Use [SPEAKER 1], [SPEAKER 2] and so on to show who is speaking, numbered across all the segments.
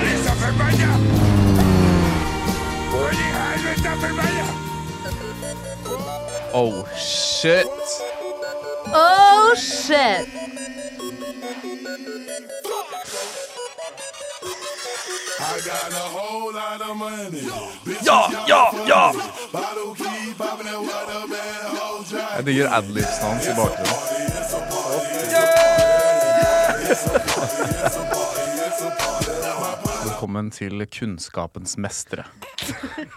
[SPEAKER 1] de så forbanna? Hvor i helvete er forbanna?
[SPEAKER 2] Oh, shit!
[SPEAKER 3] Oh shit!
[SPEAKER 4] I got a whole lot of money. Bitches
[SPEAKER 2] Ja,
[SPEAKER 4] got
[SPEAKER 2] ja, ja!
[SPEAKER 4] funny. Bottle keep popping that water, man, whole dry.
[SPEAKER 2] Jeg digger adlibsen hans i bakgrunnen. Velkommen til Kunnskapens mestere.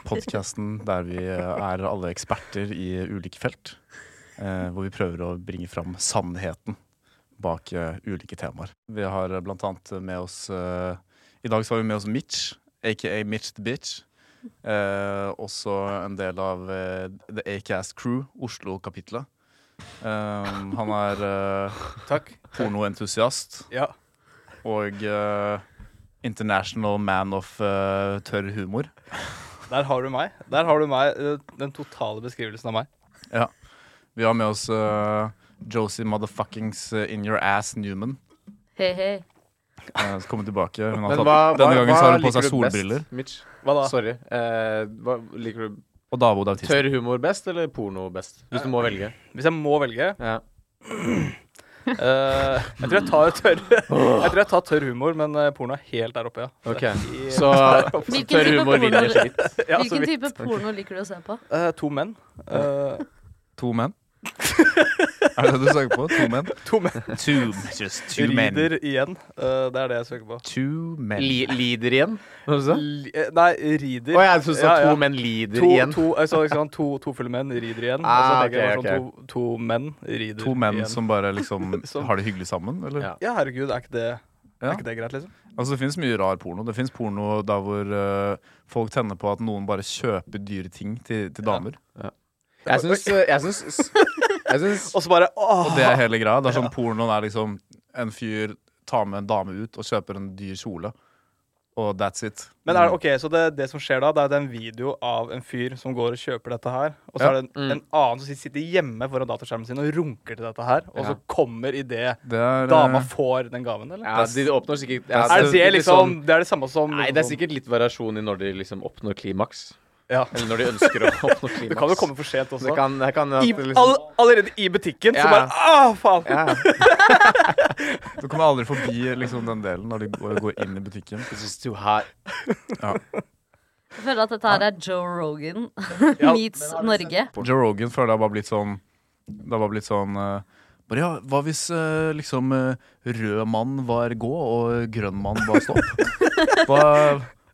[SPEAKER 2] Podkasten der vi eh, er alle eksperter i ulike felt. eh, Hvor vi prøver å bringe fram sannheten bak eh, ulike temaer. Vi har eh, blant annet med oss eh, I dag så har vi med oss Mitch, aka Mitch the Bitch. Eh, også en del av eh, The Acast Crew, Oslo-kapitlet. Um, han er eh,
[SPEAKER 5] Takk.
[SPEAKER 2] pornoentusiast
[SPEAKER 5] Ja.
[SPEAKER 2] og eh, international man of eh, tørr humor.
[SPEAKER 5] Der har du meg. Der har du meg, eh, den totale beskrivelsen av meg.
[SPEAKER 2] Ja. Vi har med oss eh, Josie motherfuckings eh, In Your Ass Newman.
[SPEAKER 3] He-he.
[SPEAKER 2] Uh, kommer tilbake. Hun har
[SPEAKER 6] Men
[SPEAKER 2] tatt,
[SPEAKER 6] hva,
[SPEAKER 2] denne
[SPEAKER 6] hva,
[SPEAKER 2] gangen
[SPEAKER 6] hva
[SPEAKER 2] så har hun på
[SPEAKER 6] liker
[SPEAKER 2] seg
[SPEAKER 6] du best,
[SPEAKER 2] solbriller.
[SPEAKER 6] Mitch,
[SPEAKER 5] Hva da?
[SPEAKER 6] sorry. Eh, hva, liker du
[SPEAKER 2] Og Davod autist.
[SPEAKER 6] tørr humor best eller porno best? Hvis du må velge.
[SPEAKER 5] Hvis jeg må velge
[SPEAKER 6] Ja.
[SPEAKER 5] eh, Jeg tror jeg tar tørr Jeg tror jeg tar tørr humor, men eh, porno er helt der oppe, ja.
[SPEAKER 6] Ok,
[SPEAKER 5] I-
[SPEAKER 6] Så
[SPEAKER 3] Hvilken
[SPEAKER 6] tørr
[SPEAKER 3] type
[SPEAKER 6] humor
[SPEAKER 3] porno
[SPEAKER 6] vinner
[SPEAKER 3] vil-
[SPEAKER 6] slitt.
[SPEAKER 5] ja, så
[SPEAKER 3] Hvilken
[SPEAKER 5] vi-
[SPEAKER 3] type porno liker du å se på?
[SPEAKER 5] eh, to menn. Eh,
[SPEAKER 2] To menn. er det det du søker på? To menn?
[SPEAKER 5] to menn.
[SPEAKER 2] Two, just two men.
[SPEAKER 5] Rider igjen. Eh, det er det jeg søker på.
[SPEAKER 2] Two men.
[SPEAKER 6] Li, lider igjen? Hva sa du?
[SPEAKER 5] Li- eh, nei, rider.
[SPEAKER 6] Å, jeg trodde du sa
[SPEAKER 5] Ja, ja.
[SPEAKER 6] to menn lider
[SPEAKER 5] To,
[SPEAKER 6] igjen.
[SPEAKER 5] to, jeg sa ikke sant, to, to fulle menn rider igjen.
[SPEAKER 6] Ah,
[SPEAKER 5] og så tenker jeg
[SPEAKER 6] ok,
[SPEAKER 5] bare sånn, to, to menn rider
[SPEAKER 2] To menn
[SPEAKER 5] igjen.
[SPEAKER 2] som bare liksom
[SPEAKER 5] Som-
[SPEAKER 2] har det hyggelig sammen, eller?
[SPEAKER 6] Ja.
[SPEAKER 5] Ja, herregud, er ikke det,
[SPEAKER 2] Ja.
[SPEAKER 5] er ikke det greit, liksom?
[SPEAKER 2] Altså Det finnes mye rar porno. Det finnes porno der hvor eh, folk tenner på at noen bare kjøper dyre ting til, til damer.
[SPEAKER 6] Jeg syns Jeg syns jeg syns-
[SPEAKER 5] Og så bare åh,
[SPEAKER 2] Og det er hele greia. Det er sånn Pornoen er liksom en fyr tar med en dame ut og kjøper en dyr kjole. Og that's it.
[SPEAKER 5] Men
[SPEAKER 6] Mm.
[SPEAKER 5] er det, ok, så det, det som skjer da, det er det en video av en fyr som går og kjøper dette her. Og så
[SPEAKER 2] Ja.
[SPEAKER 5] er det en,
[SPEAKER 6] Mm.
[SPEAKER 5] en annen som sit- sitter hjemme foran dataskjermen sin og runker til dette her. Og
[SPEAKER 6] Ja.
[SPEAKER 5] så kommer idet
[SPEAKER 2] Det er, eh,
[SPEAKER 5] dama får den gaven, eller?
[SPEAKER 6] ja, De oppnår sikkert ja,
[SPEAKER 5] Er det, det
[SPEAKER 6] litt
[SPEAKER 5] liksom
[SPEAKER 6] sånn-
[SPEAKER 5] Det er det samme som
[SPEAKER 6] Nei, det er sikkert litt variasjon i når de liksom oppnår klimaks.
[SPEAKER 5] ja.
[SPEAKER 6] Eller når de ønsker å oppnå klimaks.
[SPEAKER 5] Det kan jo komme for sent også.
[SPEAKER 6] Det kan, det kan at
[SPEAKER 5] I,
[SPEAKER 6] det liksom,
[SPEAKER 5] all, allerede i butikken,
[SPEAKER 6] Ja.
[SPEAKER 5] så bare Åh, faen!
[SPEAKER 6] ja.
[SPEAKER 2] Du kommer aldri forbi liksom, den delen når de går, går inn i butikken.
[SPEAKER 6] This is too hot.
[SPEAKER 3] Jeg føler at dette her er Joe Rogan
[SPEAKER 5] Ja,
[SPEAKER 3] meets Norge.
[SPEAKER 2] Joe Rogan føler jeg har bare blitt sånn Det har bare blitt sånn eh, bare ja, Hva hvis eh, liksom eh, rød mann var gå, og grønn mann var stopp? Hva,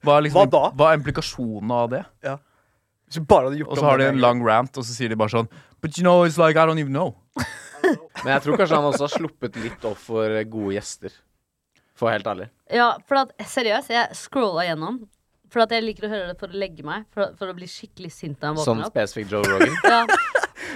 [SPEAKER 2] hva, er liksom,
[SPEAKER 5] Hva da?
[SPEAKER 2] hva er implikasjonen av det?
[SPEAKER 5] Hvis du bare hadde gjort
[SPEAKER 2] Og så
[SPEAKER 5] om
[SPEAKER 2] har de
[SPEAKER 5] den
[SPEAKER 2] en
[SPEAKER 5] gangen.
[SPEAKER 2] lang rant, og så sier de bare sånn But you know, it's like I don't even know.
[SPEAKER 6] Men jeg tror kanskje han også har sluppet litt opp for gode gjester. For å være helt ærlig.
[SPEAKER 3] Ja, for at, seriøst, jeg scrolla gjennom. For at jeg liker å høre det for å legge meg. For, for å bli skikkelig sint når jeg
[SPEAKER 6] Sånn
[SPEAKER 3] våkner opp.
[SPEAKER 6] spesifikk Joe Rogan.
[SPEAKER 3] Ja.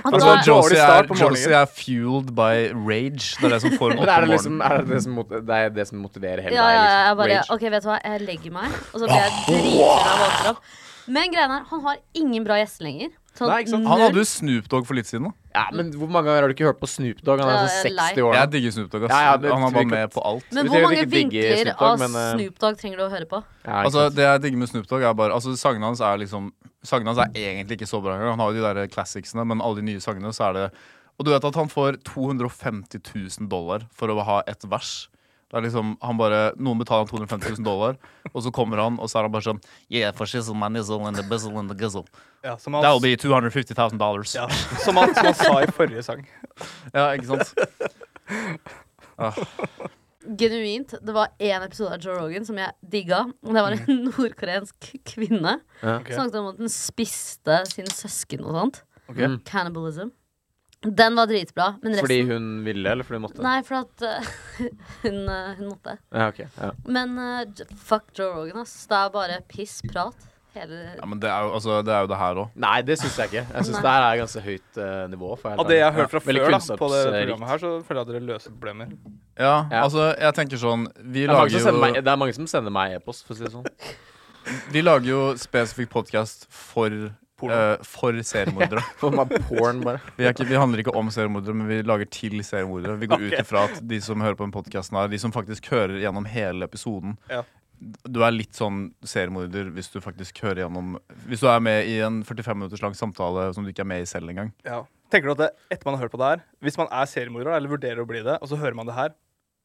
[SPEAKER 3] Og
[SPEAKER 2] Altså,
[SPEAKER 3] da,
[SPEAKER 2] Josie,
[SPEAKER 5] start
[SPEAKER 2] er,
[SPEAKER 5] på morgenen.
[SPEAKER 2] Josie er fueled by rage. Det er det som får henne
[SPEAKER 6] Eller er
[SPEAKER 2] opp om
[SPEAKER 6] det liksom
[SPEAKER 2] morgenen.
[SPEAKER 6] er det, det, som, mot- det er Ah, det som motiverer hele
[SPEAKER 3] ja, ja, ja, jeg
[SPEAKER 6] deg?
[SPEAKER 3] bare
[SPEAKER 6] Liksom.
[SPEAKER 3] OK, vet du hva, jeg legger meg, og så blir jeg dritfull av våkner opp. Men greia er, han har ingen bra gjester lenger. Sånn
[SPEAKER 6] Nei, ikke sant?
[SPEAKER 2] Han hadde
[SPEAKER 3] null.
[SPEAKER 2] jo Snoop Dogg for litt siden. da
[SPEAKER 6] Rage. Ja, men hvor mange ganger har du ikke hørt på Snoop Dogg? Han er
[SPEAKER 3] Ja,
[SPEAKER 6] sånn
[SPEAKER 3] jeg er lei.
[SPEAKER 6] 60 år
[SPEAKER 2] Jeg
[SPEAKER 6] nå.
[SPEAKER 2] digger Snoop Dogg. ass.
[SPEAKER 6] Ja, ja,
[SPEAKER 2] han
[SPEAKER 6] men vi
[SPEAKER 2] er bare
[SPEAKER 6] kan
[SPEAKER 2] med på alt.
[SPEAKER 3] Men
[SPEAKER 6] Vi
[SPEAKER 3] hvor
[SPEAKER 6] trenger
[SPEAKER 3] mange
[SPEAKER 6] ikke digge
[SPEAKER 3] vinkler
[SPEAKER 6] Snoop Dogg,
[SPEAKER 3] av
[SPEAKER 6] men, eh,
[SPEAKER 3] Snoop Dogg trenger du å høre på?
[SPEAKER 6] Ja, ikke
[SPEAKER 2] Altså,
[SPEAKER 6] sant.
[SPEAKER 2] det jeg digger med Snoop Dogg, er bare Altså, sangene hans er liksom Sangene hans er egentlig ikke så bra engang. Han har jo de der classicsene, men alle de nye sangene, så er det Og du vet at han får 250 000 dollar for å ha ett vers. Det er liksom, han bare, Noen betaler han 250 000 dollar, og så kommer han, og så er han bare sånn Yeah, for shizzle, my nizzle, and the bizzle, and the gizzle.
[SPEAKER 5] ja, som, han,
[SPEAKER 2] That'll be 250 000 dollars.
[SPEAKER 5] ja, som, han, som han sa i forrige sang.
[SPEAKER 2] Ja, ikke sant?
[SPEAKER 3] Genuint. Det var én episode av Joe Rogan som jeg digga. Og det var en
[SPEAKER 6] Mm.
[SPEAKER 3] nordkoreansk kvinne.
[SPEAKER 6] Ja.
[SPEAKER 3] Som Snakket om at den spiste sine søsken og sånt.
[SPEAKER 5] Ok.
[SPEAKER 6] Mm.
[SPEAKER 3] Cannibalism. Den var dritbra, men resten
[SPEAKER 6] Fordi hun ville, eller fordi hun måtte?
[SPEAKER 3] Nei, for at eh, hun, eh, hun måtte.
[SPEAKER 6] Ja, ok. Ja.
[SPEAKER 3] Men eh, j- fuck Joe Rogan, ass. Det er bare piss, prat. Hele
[SPEAKER 2] Ja, men det er jo, altså, det, er jo det her òg.
[SPEAKER 6] Nei, det syns jeg ikke. Jeg syns det her er ganske høyt eh, nivå. For å være
[SPEAKER 5] Av
[SPEAKER 6] helt
[SPEAKER 5] det jeg
[SPEAKER 6] ærlig.
[SPEAKER 5] har hørt fra
[SPEAKER 6] Veldig
[SPEAKER 5] før, da, på det
[SPEAKER 6] kunnskapsrikt.
[SPEAKER 5] programmet her, så føler jeg at dere løser problemer.
[SPEAKER 2] Ja,
[SPEAKER 6] Ja.
[SPEAKER 2] altså, jeg tenker sånn Vi
[SPEAKER 6] Det er, mange
[SPEAKER 2] lager
[SPEAKER 6] som sender
[SPEAKER 2] jo,
[SPEAKER 6] meg, det er mange som sender meg e-post, for å si det sånn.
[SPEAKER 2] vi lager jo spesifikk podkast for
[SPEAKER 5] Porno.
[SPEAKER 2] eh, for seriemordere.
[SPEAKER 6] For meg porn, bare.
[SPEAKER 2] Vi, er ikke, vi handler ikke om seriemordere, men vi lager til seriemordere. Vi går ut ifra at de som hører på den podkasten, de som faktisk hører gjennom hele episoden,
[SPEAKER 5] Ja.
[SPEAKER 2] du er litt sånn seriemorder hvis du faktisk hører gjennom Hvis du er med i en 45 minutters lang samtale som du ikke er med i selv engang.
[SPEAKER 5] Ja. Tenker du at det, etter man har hørt på det her Hvis man er seriemorder da, eller vurderer å bli det, og så hører man det her,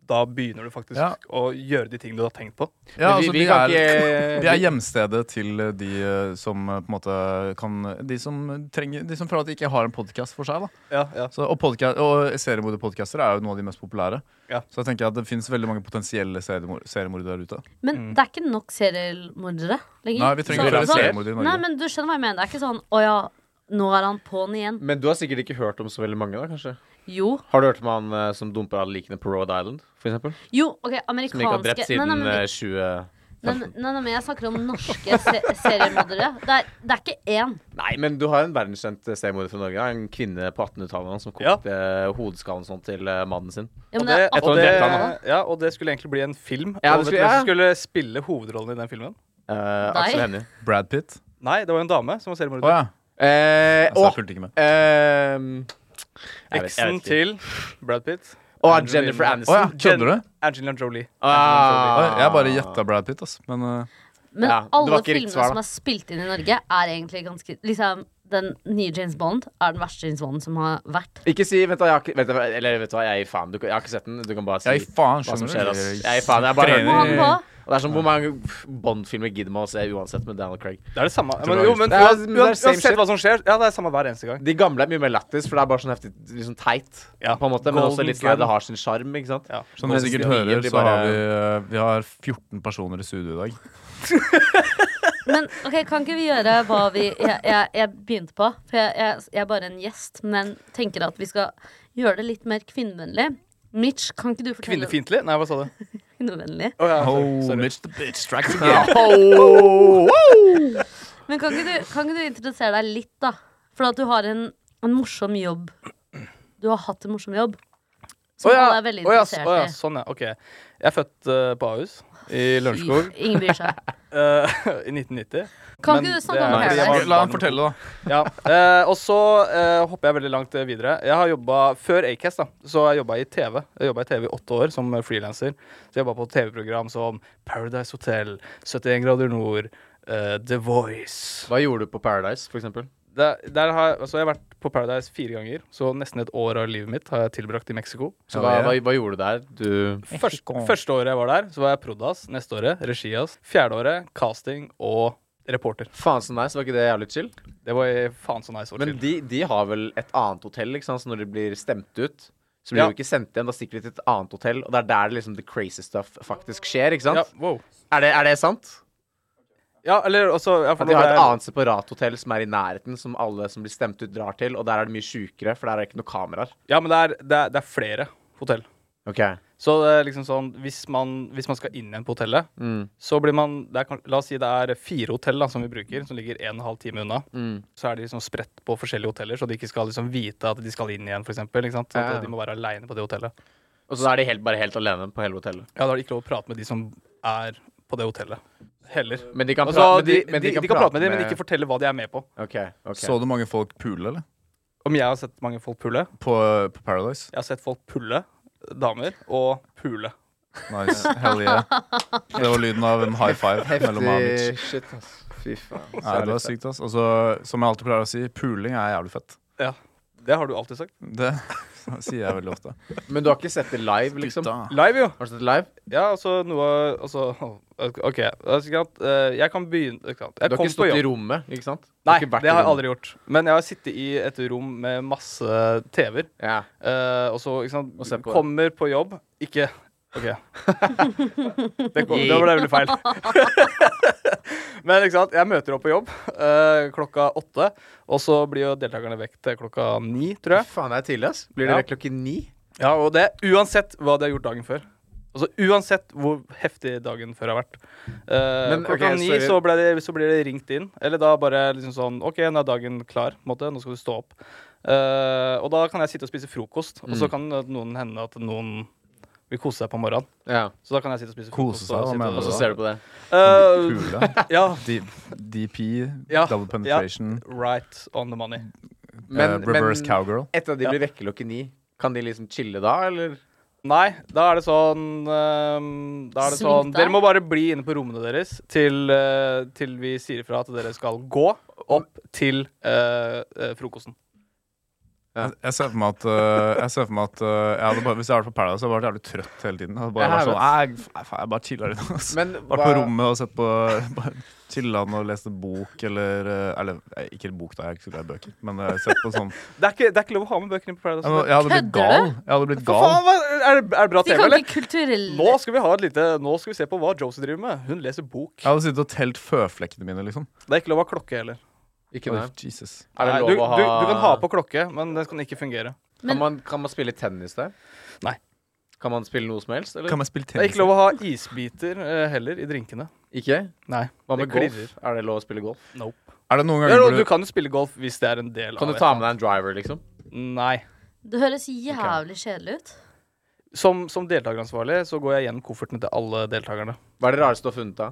[SPEAKER 5] da begynner du faktisk
[SPEAKER 2] Ja.
[SPEAKER 5] å gjøre de tingene du har tenkt på.
[SPEAKER 2] Ja,
[SPEAKER 6] Men vi-
[SPEAKER 2] altså,
[SPEAKER 6] vi
[SPEAKER 2] de,
[SPEAKER 6] kan
[SPEAKER 2] er,
[SPEAKER 6] ikke-
[SPEAKER 2] de er hjemstedet til eh, de eh, som eh, på en måte kan De som trenger De som føler at de ikke har en podkast for seg. da
[SPEAKER 5] Ja, ja.
[SPEAKER 2] så, Og, podca- og seriemorderpodkaster er jo noen av de mest populære.
[SPEAKER 5] Ja.
[SPEAKER 2] Så jeg tenker at det finnes veldig mange potensielle seriemor- seriemordere der ute.
[SPEAKER 3] Men
[SPEAKER 6] Mm.
[SPEAKER 3] det er ikke nok seriemordere lenger.
[SPEAKER 2] Nei, vi trenger
[SPEAKER 5] flere
[SPEAKER 2] flere
[SPEAKER 3] sånn-
[SPEAKER 2] seriemordere i
[SPEAKER 3] Nei,
[SPEAKER 2] Norge.
[SPEAKER 3] men du skjønner hva jeg mener. Det er ikke sånn å ja, nå er han på'n igjen.
[SPEAKER 6] Men du har sikkert ikke hørt om så veldig mange, da, kanskje?
[SPEAKER 3] Jo.
[SPEAKER 6] Har du hørt om han eh, som dumper alle likene på Rhode Island, for eksempel?
[SPEAKER 3] Jo, OK,
[SPEAKER 6] Som ikke har drept
[SPEAKER 3] amerikanske Nei,
[SPEAKER 6] siden
[SPEAKER 3] nei, men
[SPEAKER 6] eh,
[SPEAKER 3] ikke-
[SPEAKER 6] 20...
[SPEAKER 3] nei, nei, nei, men jeg snakker om norske se seriemordere. Det er, det er ikke én.
[SPEAKER 6] Nei, men du har en verdenskjent eh, seriemorder fra Norge. da. En kvinne på 1800-tallet han som
[SPEAKER 5] Ja.
[SPEAKER 6] kokte hodeskallen sånn til eh, mannen sin.
[SPEAKER 3] Ja,
[SPEAKER 5] Og
[SPEAKER 3] men
[SPEAKER 5] det,
[SPEAKER 3] det er
[SPEAKER 5] og,
[SPEAKER 6] tror
[SPEAKER 5] det,
[SPEAKER 6] han drepte
[SPEAKER 3] han,
[SPEAKER 5] ja, og det skulle egentlig bli en film.
[SPEAKER 6] Ja,
[SPEAKER 5] og
[SPEAKER 6] det
[SPEAKER 5] det skulle,
[SPEAKER 6] skulle- ja.
[SPEAKER 5] skulle spille hovedrollen i den filmen.
[SPEAKER 6] Eh, Aksel Hennie.
[SPEAKER 2] Brad Pitt.
[SPEAKER 5] Nei, det var jo en dame
[SPEAKER 2] Å
[SPEAKER 5] som var seriemorder.
[SPEAKER 2] ja.
[SPEAKER 6] Eh,
[SPEAKER 2] Altså, jeg
[SPEAKER 6] og ehm,
[SPEAKER 2] fulgte ikke med.
[SPEAKER 6] eh,
[SPEAKER 5] Eksen til Brad Pitt.
[SPEAKER 6] Og Jennifer Aniston.
[SPEAKER 2] Å ja, kødder du?
[SPEAKER 5] Angelina Jolie.
[SPEAKER 2] Å,
[SPEAKER 6] Ah.
[SPEAKER 2] Jeg bare gjetta Brad Pitt, ass. Men eh,
[SPEAKER 3] men
[SPEAKER 6] Ja, det var
[SPEAKER 3] alle
[SPEAKER 6] ikke
[SPEAKER 3] filmene
[SPEAKER 6] riktig svar, da.
[SPEAKER 3] som er spilt inn i Norge, er egentlig ganske Liksom, den nye James Bond er den verste James Bond som har vært.
[SPEAKER 6] Ikke si vet du, hva, jeg har ikke, vet du, hva- Eller vet du hva, jeg gir faen. Du, kan- jeg har ikke sett den. Du kan bare si
[SPEAKER 2] jeg gir faen,
[SPEAKER 6] hva som
[SPEAKER 2] skjønner
[SPEAKER 6] skjer.
[SPEAKER 2] du?
[SPEAKER 6] Ass. Jeg gir faen. Jeg bare
[SPEAKER 3] Må han på?
[SPEAKER 6] Og det er sånn Hvor mange Bond-filmer gidder man å se uansett med Daniel Craig?
[SPEAKER 5] Det er det samme.
[SPEAKER 2] tror
[SPEAKER 5] Men,
[SPEAKER 2] det er
[SPEAKER 5] jo, men
[SPEAKER 6] riktig. Det
[SPEAKER 5] uansett,
[SPEAKER 6] er- men det er same shit.
[SPEAKER 5] uansett hva som skjer, ja, det er samme hver eneste gang.
[SPEAKER 6] De gamle er mye mer lættis, for det er bare sånn heftig liksom teit.
[SPEAKER 5] Ja.
[SPEAKER 6] På en måte, Men
[SPEAKER 5] Golden
[SPEAKER 6] også litt sånn at
[SPEAKER 5] Gun.
[SPEAKER 6] det har sin sjarm, ikke sant?
[SPEAKER 5] Ja.
[SPEAKER 2] Som dere
[SPEAKER 6] Mens
[SPEAKER 2] sikkert
[SPEAKER 6] de nye,
[SPEAKER 2] hører,
[SPEAKER 6] de
[SPEAKER 2] så har
[SPEAKER 6] bare-
[SPEAKER 2] vi, eh, vi har 14 personer i studio i dag.
[SPEAKER 3] Men ok, kan ikke vi gjøre hva vi Jeg, jeg, jeg begynte på, for jeg, jeg, jeg er bare en gjest, men tenker at vi skal gjøre det litt mer kvinnevennlig. Mitch, kan ikke du fortelle
[SPEAKER 5] Kvinnefiendtlig? Nei, hva sa du?
[SPEAKER 3] kvinnevennlig?
[SPEAKER 5] Å, ja, sorry,
[SPEAKER 2] Oh,
[SPEAKER 5] sorry.
[SPEAKER 2] Mitch the bitch strikes
[SPEAKER 6] Ja.
[SPEAKER 2] again.
[SPEAKER 3] Men kan ikke, du, kan ikke du introdusere deg litt, da? For at du har en, en morsom jobb. Du har hatt en morsom jobb. Som
[SPEAKER 5] Å ja,
[SPEAKER 3] alle er veldig
[SPEAKER 5] å ja,
[SPEAKER 3] interessert
[SPEAKER 5] å ja,
[SPEAKER 3] i.
[SPEAKER 5] sånn, ja. Ok. Jeg er født eh, på Ahus i Lørenskog
[SPEAKER 3] I- Ingen bryr seg.
[SPEAKER 5] eh, i 1990.
[SPEAKER 3] Kan
[SPEAKER 5] Men
[SPEAKER 3] ikke du
[SPEAKER 5] det
[SPEAKER 3] snakke
[SPEAKER 5] er-
[SPEAKER 3] om
[SPEAKER 5] Nei, jeg
[SPEAKER 3] Paradise?
[SPEAKER 5] var-
[SPEAKER 2] La han fortelle, da.
[SPEAKER 5] Ja. eh, og så eh, hopper jeg veldig langt eh, videre. Jeg har jobba før Acast, da. Så jeg jobba i TV. Jeg jobbet i TV i åtte år som frilanser. Så jeg jobba på TV-program som Paradise Hotel, 71 grader nord, eh, The Voice.
[SPEAKER 6] Hva gjorde du på Paradise, for eksempel?
[SPEAKER 5] Der, der har, jeg- altså jeg har vært på Paradise fire ganger, så nesten et år av livet mitt har jeg tilbrakt i Mexico.
[SPEAKER 6] Så
[SPEAKER 2] Ja,
[SPEAKER 6] hva,
[SPEAKER 2] det er-
[SPEAKER 6] hva, hva gjorde du der? Du
[SPEAKER 5] Først,
[SPEAKER 2] Mexico.
[SPEAKER 5] første året jeg var der, så var jeg prodas. Neste året regias. Fjerde året casting og reporter.
[SPEAKER 6] Faen så nice, var ikke det jævlig chill?
[SPEAKER 5] Det var i faen så nice. og
[SPEAKER 6] Men
[SPEAKER 5] chill.
[SPEAKER 6] de, de har vel et annet hotell, ikke sant? Så når de blir stemt ut, så blir
[SPEAKER 5] Ja.
[SPEAKER 6] de jo ikke sendt igjen. Da stikker de til et annet hotell, og det er der liksom the crazy stuff faktisk skjer, ikke sant?
[SPEAKER 5] ja, wow.
[SPEAKER 6] Er, det, er det sant?
[SPEAKER 5] ja, eller også ja, for
[SPEAKER 6] At de
[SPEAKER 5] nå
[SPEAKER 6] har
[SPEAKER 5] ble
[SPEAKER 6] et
[SPEAKER 5] jeg-
[SPEAKER 6] annet separat hotell som er i nærheten, som alle som blir stemt ut, drar til, og der er det mye sjukere, for der er det ikke noe kameraer.
[SPEAKER 5] Ja, men det er, det er, det er flere hotell.
[SPEAKER 6] Ok.
[SPEAKER 5] Så det er liksom sånn, hvis man, hvis man skal inn igjen på hotellet,
[SPEAKER 6] Mm.
[SPEAKER 5] så blir man det er, kan- La oss si det er fire hotell da, som vi bruker, som ligger en og en halv time unna.
[SPEAKER 6] Mm.
[SPEAKER 5] Så er de liksom spredt på forskjellige hoteller, så de ikke skal liksom vite at de skal inn igjen, for eksempel, ikke sant? Så
[SPEAKER 6] Ja.
[SPEAKER 5] at De må være aleine på det hotellet.
[SPEAKER 6] Og så er de helt, bare helt alene på hele hotellet.
[SPEAKER 5] Ja, Da er det ikke lov å prate med de som er på det hotellet. Heller.
[SPEAKER 6] Men de kan,
[SPEAKER 5] Altså,
[SPEAKER 6] prate- men
[SPEAKER 5] de, de,
[SPEAKER 6] men
[SPEAKER 5] de, kan prate med dem, men ikke fortelle hva de er med på.
[SPEAKER 6] Ok, ok.
[SPEAKER 2] Så du mange folk pule, eller?
[SPEAKER 5] Om jeg har sett mange folk pulle?
[SPEAKER 2] På, eh, på Paradise?
[SPEAKER 5] Jeg har sett folk pulle damer og pule.
[SPEAKER 2] Nice. Hell yeah. Det var lyden av en high five mellom meg og Mitch.
[SPEAKER 6] shit, ass. Fy faen.
[SPEAKER 2] Nei, det var sykt, ass. Altså, som jeg alltid pleier å si, puling er jævlig fett.
[SPEAKER 5] Det har du alltid sagt.
[SPEAKER 2] Det sier jeg veldig ofte.
[SPEAKER 6] Men du har ikke sett det live, liksom?
[SPEAKER 2] Gutta.
[SPEAKER 5] Live, jo.
[SPEAKER 6] Har du sett det live?
[SPEAKER 5] Ja, altså noe Altså, OK. Altså, ikke sant? Eh, Jeg kan begynne ikke sant? Jeg
[SPEAKER 6] Du har
[SPEAKER 5] kom
[SPEAKER 6] ikke
[SPEAKER 5] på
[SPEAKER 6] stått i
[SPEAKER 5] jobb.
[SPEAKER 6] rommet, ikke sant? Du
[SPEAKER 5] Nei,
[SPEAKER 6] ikke vært
[SPEAKER 5] det
[SPEAKER 6] i
[SPEAKER 5] har jeg
[SPEAKER 6] rommet.
[SPEAKER 5] aldri gjort. Men jeg har sittet i et rom med masse TV-er.
[SPEAKER 6] Ja.
[SPEAKER 5] eh, og så, ikke sant
[SPEAKER 6] Og se på det.
[SPEAKER 5] Kommer på jobb. Ikke OK. Det, kom, det ble veldig feil. Men ikke sant, jeg møter opp på jobb eh, klokka åtte. Og så blir jo deltakerne vekk til klokka ni, tror jeg.
[SPEAKER 6] Faen, det er tidlig, ass. Blir det
[SPEAKER 5] Ja.
[SPEAKER 6] vekk klokken ni?
[SPEAKER 5] Ja, og det er uansett hva de har gjort dagen før. Altså Uansett hvor heftig dagen før har vært. Eh,
[SPEAKER 6] Men,
[SPEAKER 5] klokka
[SPEAKER 6] ok,
[SPEAKER 5] ni
[SPEAKER 6] sorry.
[SPEAKER 5] så, ble de, så blir det ringt inn. Eller da bare liksom sånn OK, nå er dagen klar. på en Måte. Nå skal du stå opp. Eh, og da kan jeg sitte og spise frokost, og så
[SPEAKER 6] Mm.
[SPEAKER 5] kan noen hende at noen vil kose seg på morgenen.
[SPEAKER 6] Ja.
[SPEAKER 5] Så da kan jeg sitte og spise
[SPEAKER 2] Kose
[SPEAKER 5] frokost.
[SPEAKER 2] seg, hva mener
[SPEAKER 6] Og så ser du på det.
[SPEAKER 5] du
[SPEAKER 2] Pule.
[SPEAKER 5] Ja,
[SPEAKER 2] D- DP,
[SPEAKER 5] Ja,
[SPEAKER 2] double
[SPEAKER 5] ja.
[SPEAKER 2] penetration,
[SPEAKER 5] right on the money.
[SPEAKER 2] eh, reverse cowgirl.
[SPEAKER 6] etter at de blir vekket klokken ni, kan de liksom chille da, eller?
[SPEAKER 5] Nei, da er det sånn ehm, Da er det
[SPEAKER 3] Sving
[SPEAKER 5] sånn
[SPEAKER 3] deg.
[SPEAKER 5] Dere må bare bli inne på rommene deres til, eh, til vi sier ifra at dere skal gå opp til eh, eh, frokosten.
[SPEAKER 2] Jeg, jeg ser for meg at, øh, jeg ser for meg at øh, jeg hadde bare, Hvis jeg hadde vært på Paradise, hadde jeg vært jævlig trøtt hele tiden. Jeg hadde bare
[SPEAKER 6] Ja,
[SPEAKER 2] vært
[SPEAKER 6] jeg
[SPEAKER 2] sånn, jeg, faen, jeg, bare chiller litt. ass.
[SPEAKER 6] Men
[SPEAKER 2] Vært på
[SPEAKER 6] hva-
[SPEAKER 2] rommet og sett på bare Chillet og lest en bok eller øh, Eller eh, ikke en bok, da, jeg er ikke så glad i bøker. Men jeg har sett på sånn jeg,
[SPEAKER 5] Det er ikke, det er ikke lov å ha med bøkene på Paradise.
[SPEAKER 2] må- jeg hadde blitt
[SPEAKER 3] Kødder du?
[SPEAKER 2] gal. Jeg hadde blitt
[SPEAKER 5] For faen,
[SPEAKER 2] gal.
[SPEAKER 5] hva, er, det, er det bra
[SPEAKER 3] De
[SPEAKER 5] TV,
[SPEAKER 3] kan
[SPEAKER 5] eller?
[SPEAKER 3] ikke kulturelle
[SPEAKER 5] Nå skal vi ha et lite Nå skal vi se på hva Josie driver med. Hun leser bok.
[SPEAKER 2] Jeg hadde sittet og telt føflekkene mine, liksom.
[SPEAKER 5] Det er ikke lov å ha klokke heller.
[SPEAKER 6] Ikke
[SPEAKER 2] Oi,
[SPEAKER 6] det.
[SPEAKER 2] Jesus.
[SPEAKER 6] Er det
[SPEAKER 5] Nei,
[SPEAKER 6] lov
[SPEAKER 5] du,
[SPEAKER 6] å ha
[SPEAKER 5] du, du kan ha på klokke, men den kan ikke fungere.
[SPEAKER 3] Men-
[SPEAKER 6] kan, man, kan man spille tennis der?
[SPEAKER 5] Nei.
[SPEAKER 6] Kan man spille noe som helst, eller?
[SPEAKER 2] Kan jeg spille
[SPEAKER 5] Det er
[SPEAKER 2] tennis?
[SPEAKER 5] ikke lov å ha isbiter eh, heller i drinkene.
[SPEAKER 6] Ikke?
[SPEAKER 5] Nei.
[SPEAKER 6] Hva
[SPEAKER 5] det
[SPEAKER 6] med golf?
[SPEAKER 5] klirrer.
[SPEAKER 6] Er det lov å spille golf?
[SPEAKER 5] Nope.
[SPEAKER 2] Er det noen
[SPEAKER 5] Ja,
[SPEAKER 2] ganger hvor
[SPEAKER 5] du
[SPEAKER 2] du
[SPEAKER 5] kan jo spille golf hvis det er en del
[SPEAKER 6] Kan
[SPEAKER 5] av
[SPEAKER 6] du ta med deg en driver, liksom?
[SPEAKER 5] et- Nei.
[SPEAKER 3] Det høres jævlig kjedelig ut.
[SPEAKER 5] Som, som deltakeransvarlig så går jeg gjennom koffertene til alle deltakerne.
[SPEAKER 6] Hva er det rareste du har funnet, da?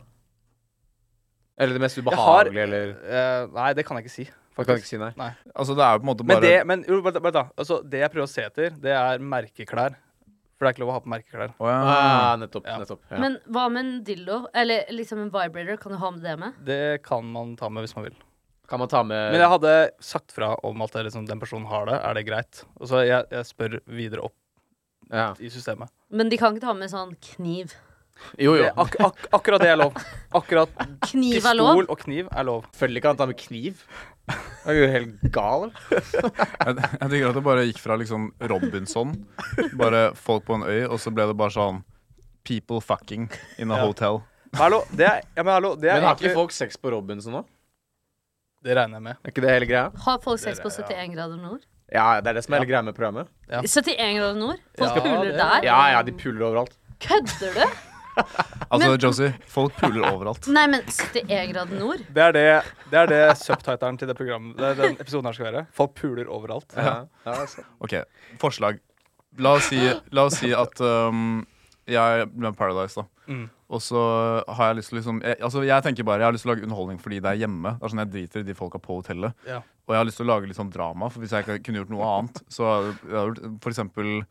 [SPEAKER 6] Eller det mest
[SPEAKER 5] Jeg har-
[SPEAKER 6] ubehagelige, eller
[SPEAKER 5] Eh, nei, det kan jeg ikke si.
[SPEAKER 6] Jeg kan ikke si nei.
[SPEAKER 2] Altså, det er jo på en måte
[SPEAKER 5] Men,
[SPEAKER 2] bare
[SPEAKER 5] det, men jo, vent, vent da. Altså, det jeg prøver å se etter, det er merkeklær. For det er ikke lov å ha på merkeklær.
[SPEAKER 2] Å, ja.
[SPEAKER 6] Ah, nettopp.
[SPEAKER 5] Ja.
[SPEAKER 6] nettopp ja.
[SPEAKER 3] Men hva med en dildo? Eller liksom en vibrator? Kan du ha med det med?
[SPEAKER 5] Det kan man ta med hvis man vil.
[SPEAKER 6] Kan man ta med
[SPEAKER 5] Men jeg hadde sagt fra om at det er liksom, den personen har det. Er det greit? Og så jeg, jeg spør videre opp
[SPEAKER 6] ja.
[SPEAKER 5] i systemet.
[SPEAKER 3] Men de kan ikke ta med sånn kniv.
[SPEAKER 6] Jo, jo.
[SPEAKER 5] Det, ak ak akkurat det er lov. Akkurat
[SPEAKER 3] Kniv er lov.
[SPEAKER 5] pistol og kniv er lov.
[SPEAKER 6] Selvfølgelig kan han ta med kniv. Er du helt gal? eller?
[SPEAKER 2] Jeg, jeg tenker at det bare gikk fra liksom Robinson, bare folk på en øy, og så ble det bare sånn People fucking in a
[SPEAKER 5] Ja.
[SPEAKER 2] hotel.
[SPEAKER 5] Men hallo, det er, ja, men hallo, det er
[SPEAKER 6] Men har ikke
[SPEAKER 5] egentlig
[SPEAKER 6] folk sex på Robinson nå?
[SPEAKER 5] Det regner jeg med.
[SPEAKER 6] Er ikke det hele greia?
[SPEAKER 3] Har folk sex på
[SPEAKER 5] Det er-
[SPEAKER 3] 71 grader nord?
[SPEAKER 6] Ja, det er det som er hele greia med programmet.
[SPEAKER 5] Ja.
[SPEAKER 3] 71 grader nord? Folk
[SPEAKER 5] Ja,
[SPEAKER 3] puler
[SPEAKER 5] det er-
[SPEAKER 3] der?
[SPEAKER 6] Ja, ja, de puler overalt.
[SPEAKER 3] Kødder du?
[SPEAKER 2] Altså,
[SPEAKER 3] Men-
[SPEAKER 2] Josie, folk puler overalt.
[SPEAKER 3] Nei, men 71 grader nord?
[SPEAKER 5] Det er det, det, er det subtiteren til det programmet, det, den episoden her skal være. Folk puler overalt.
[SPEAKER 6] Ja. Ja, altså.
[SPEAKER 2] OK, forslag. La oss si, la oss si at um, jeg ble med Paradise, da.
[SPEAKER 5] Mm.
[SPEAKER 2] Og så har jeg lyst til å liksom jeg, Altså, jeg tenker bare Jeg har lyst til å lage underholdning fordi det er hjemme. Det er sånn Jeg driter i de folka på hotellet.
[SPEAKER 5] Ja.
[SPEAKER 2] Og jeg har lyst til å lage litt sånn drama, for hvis jeg ikke kunne gjort noe annet, så hadde jeg hadde gjort for eksempel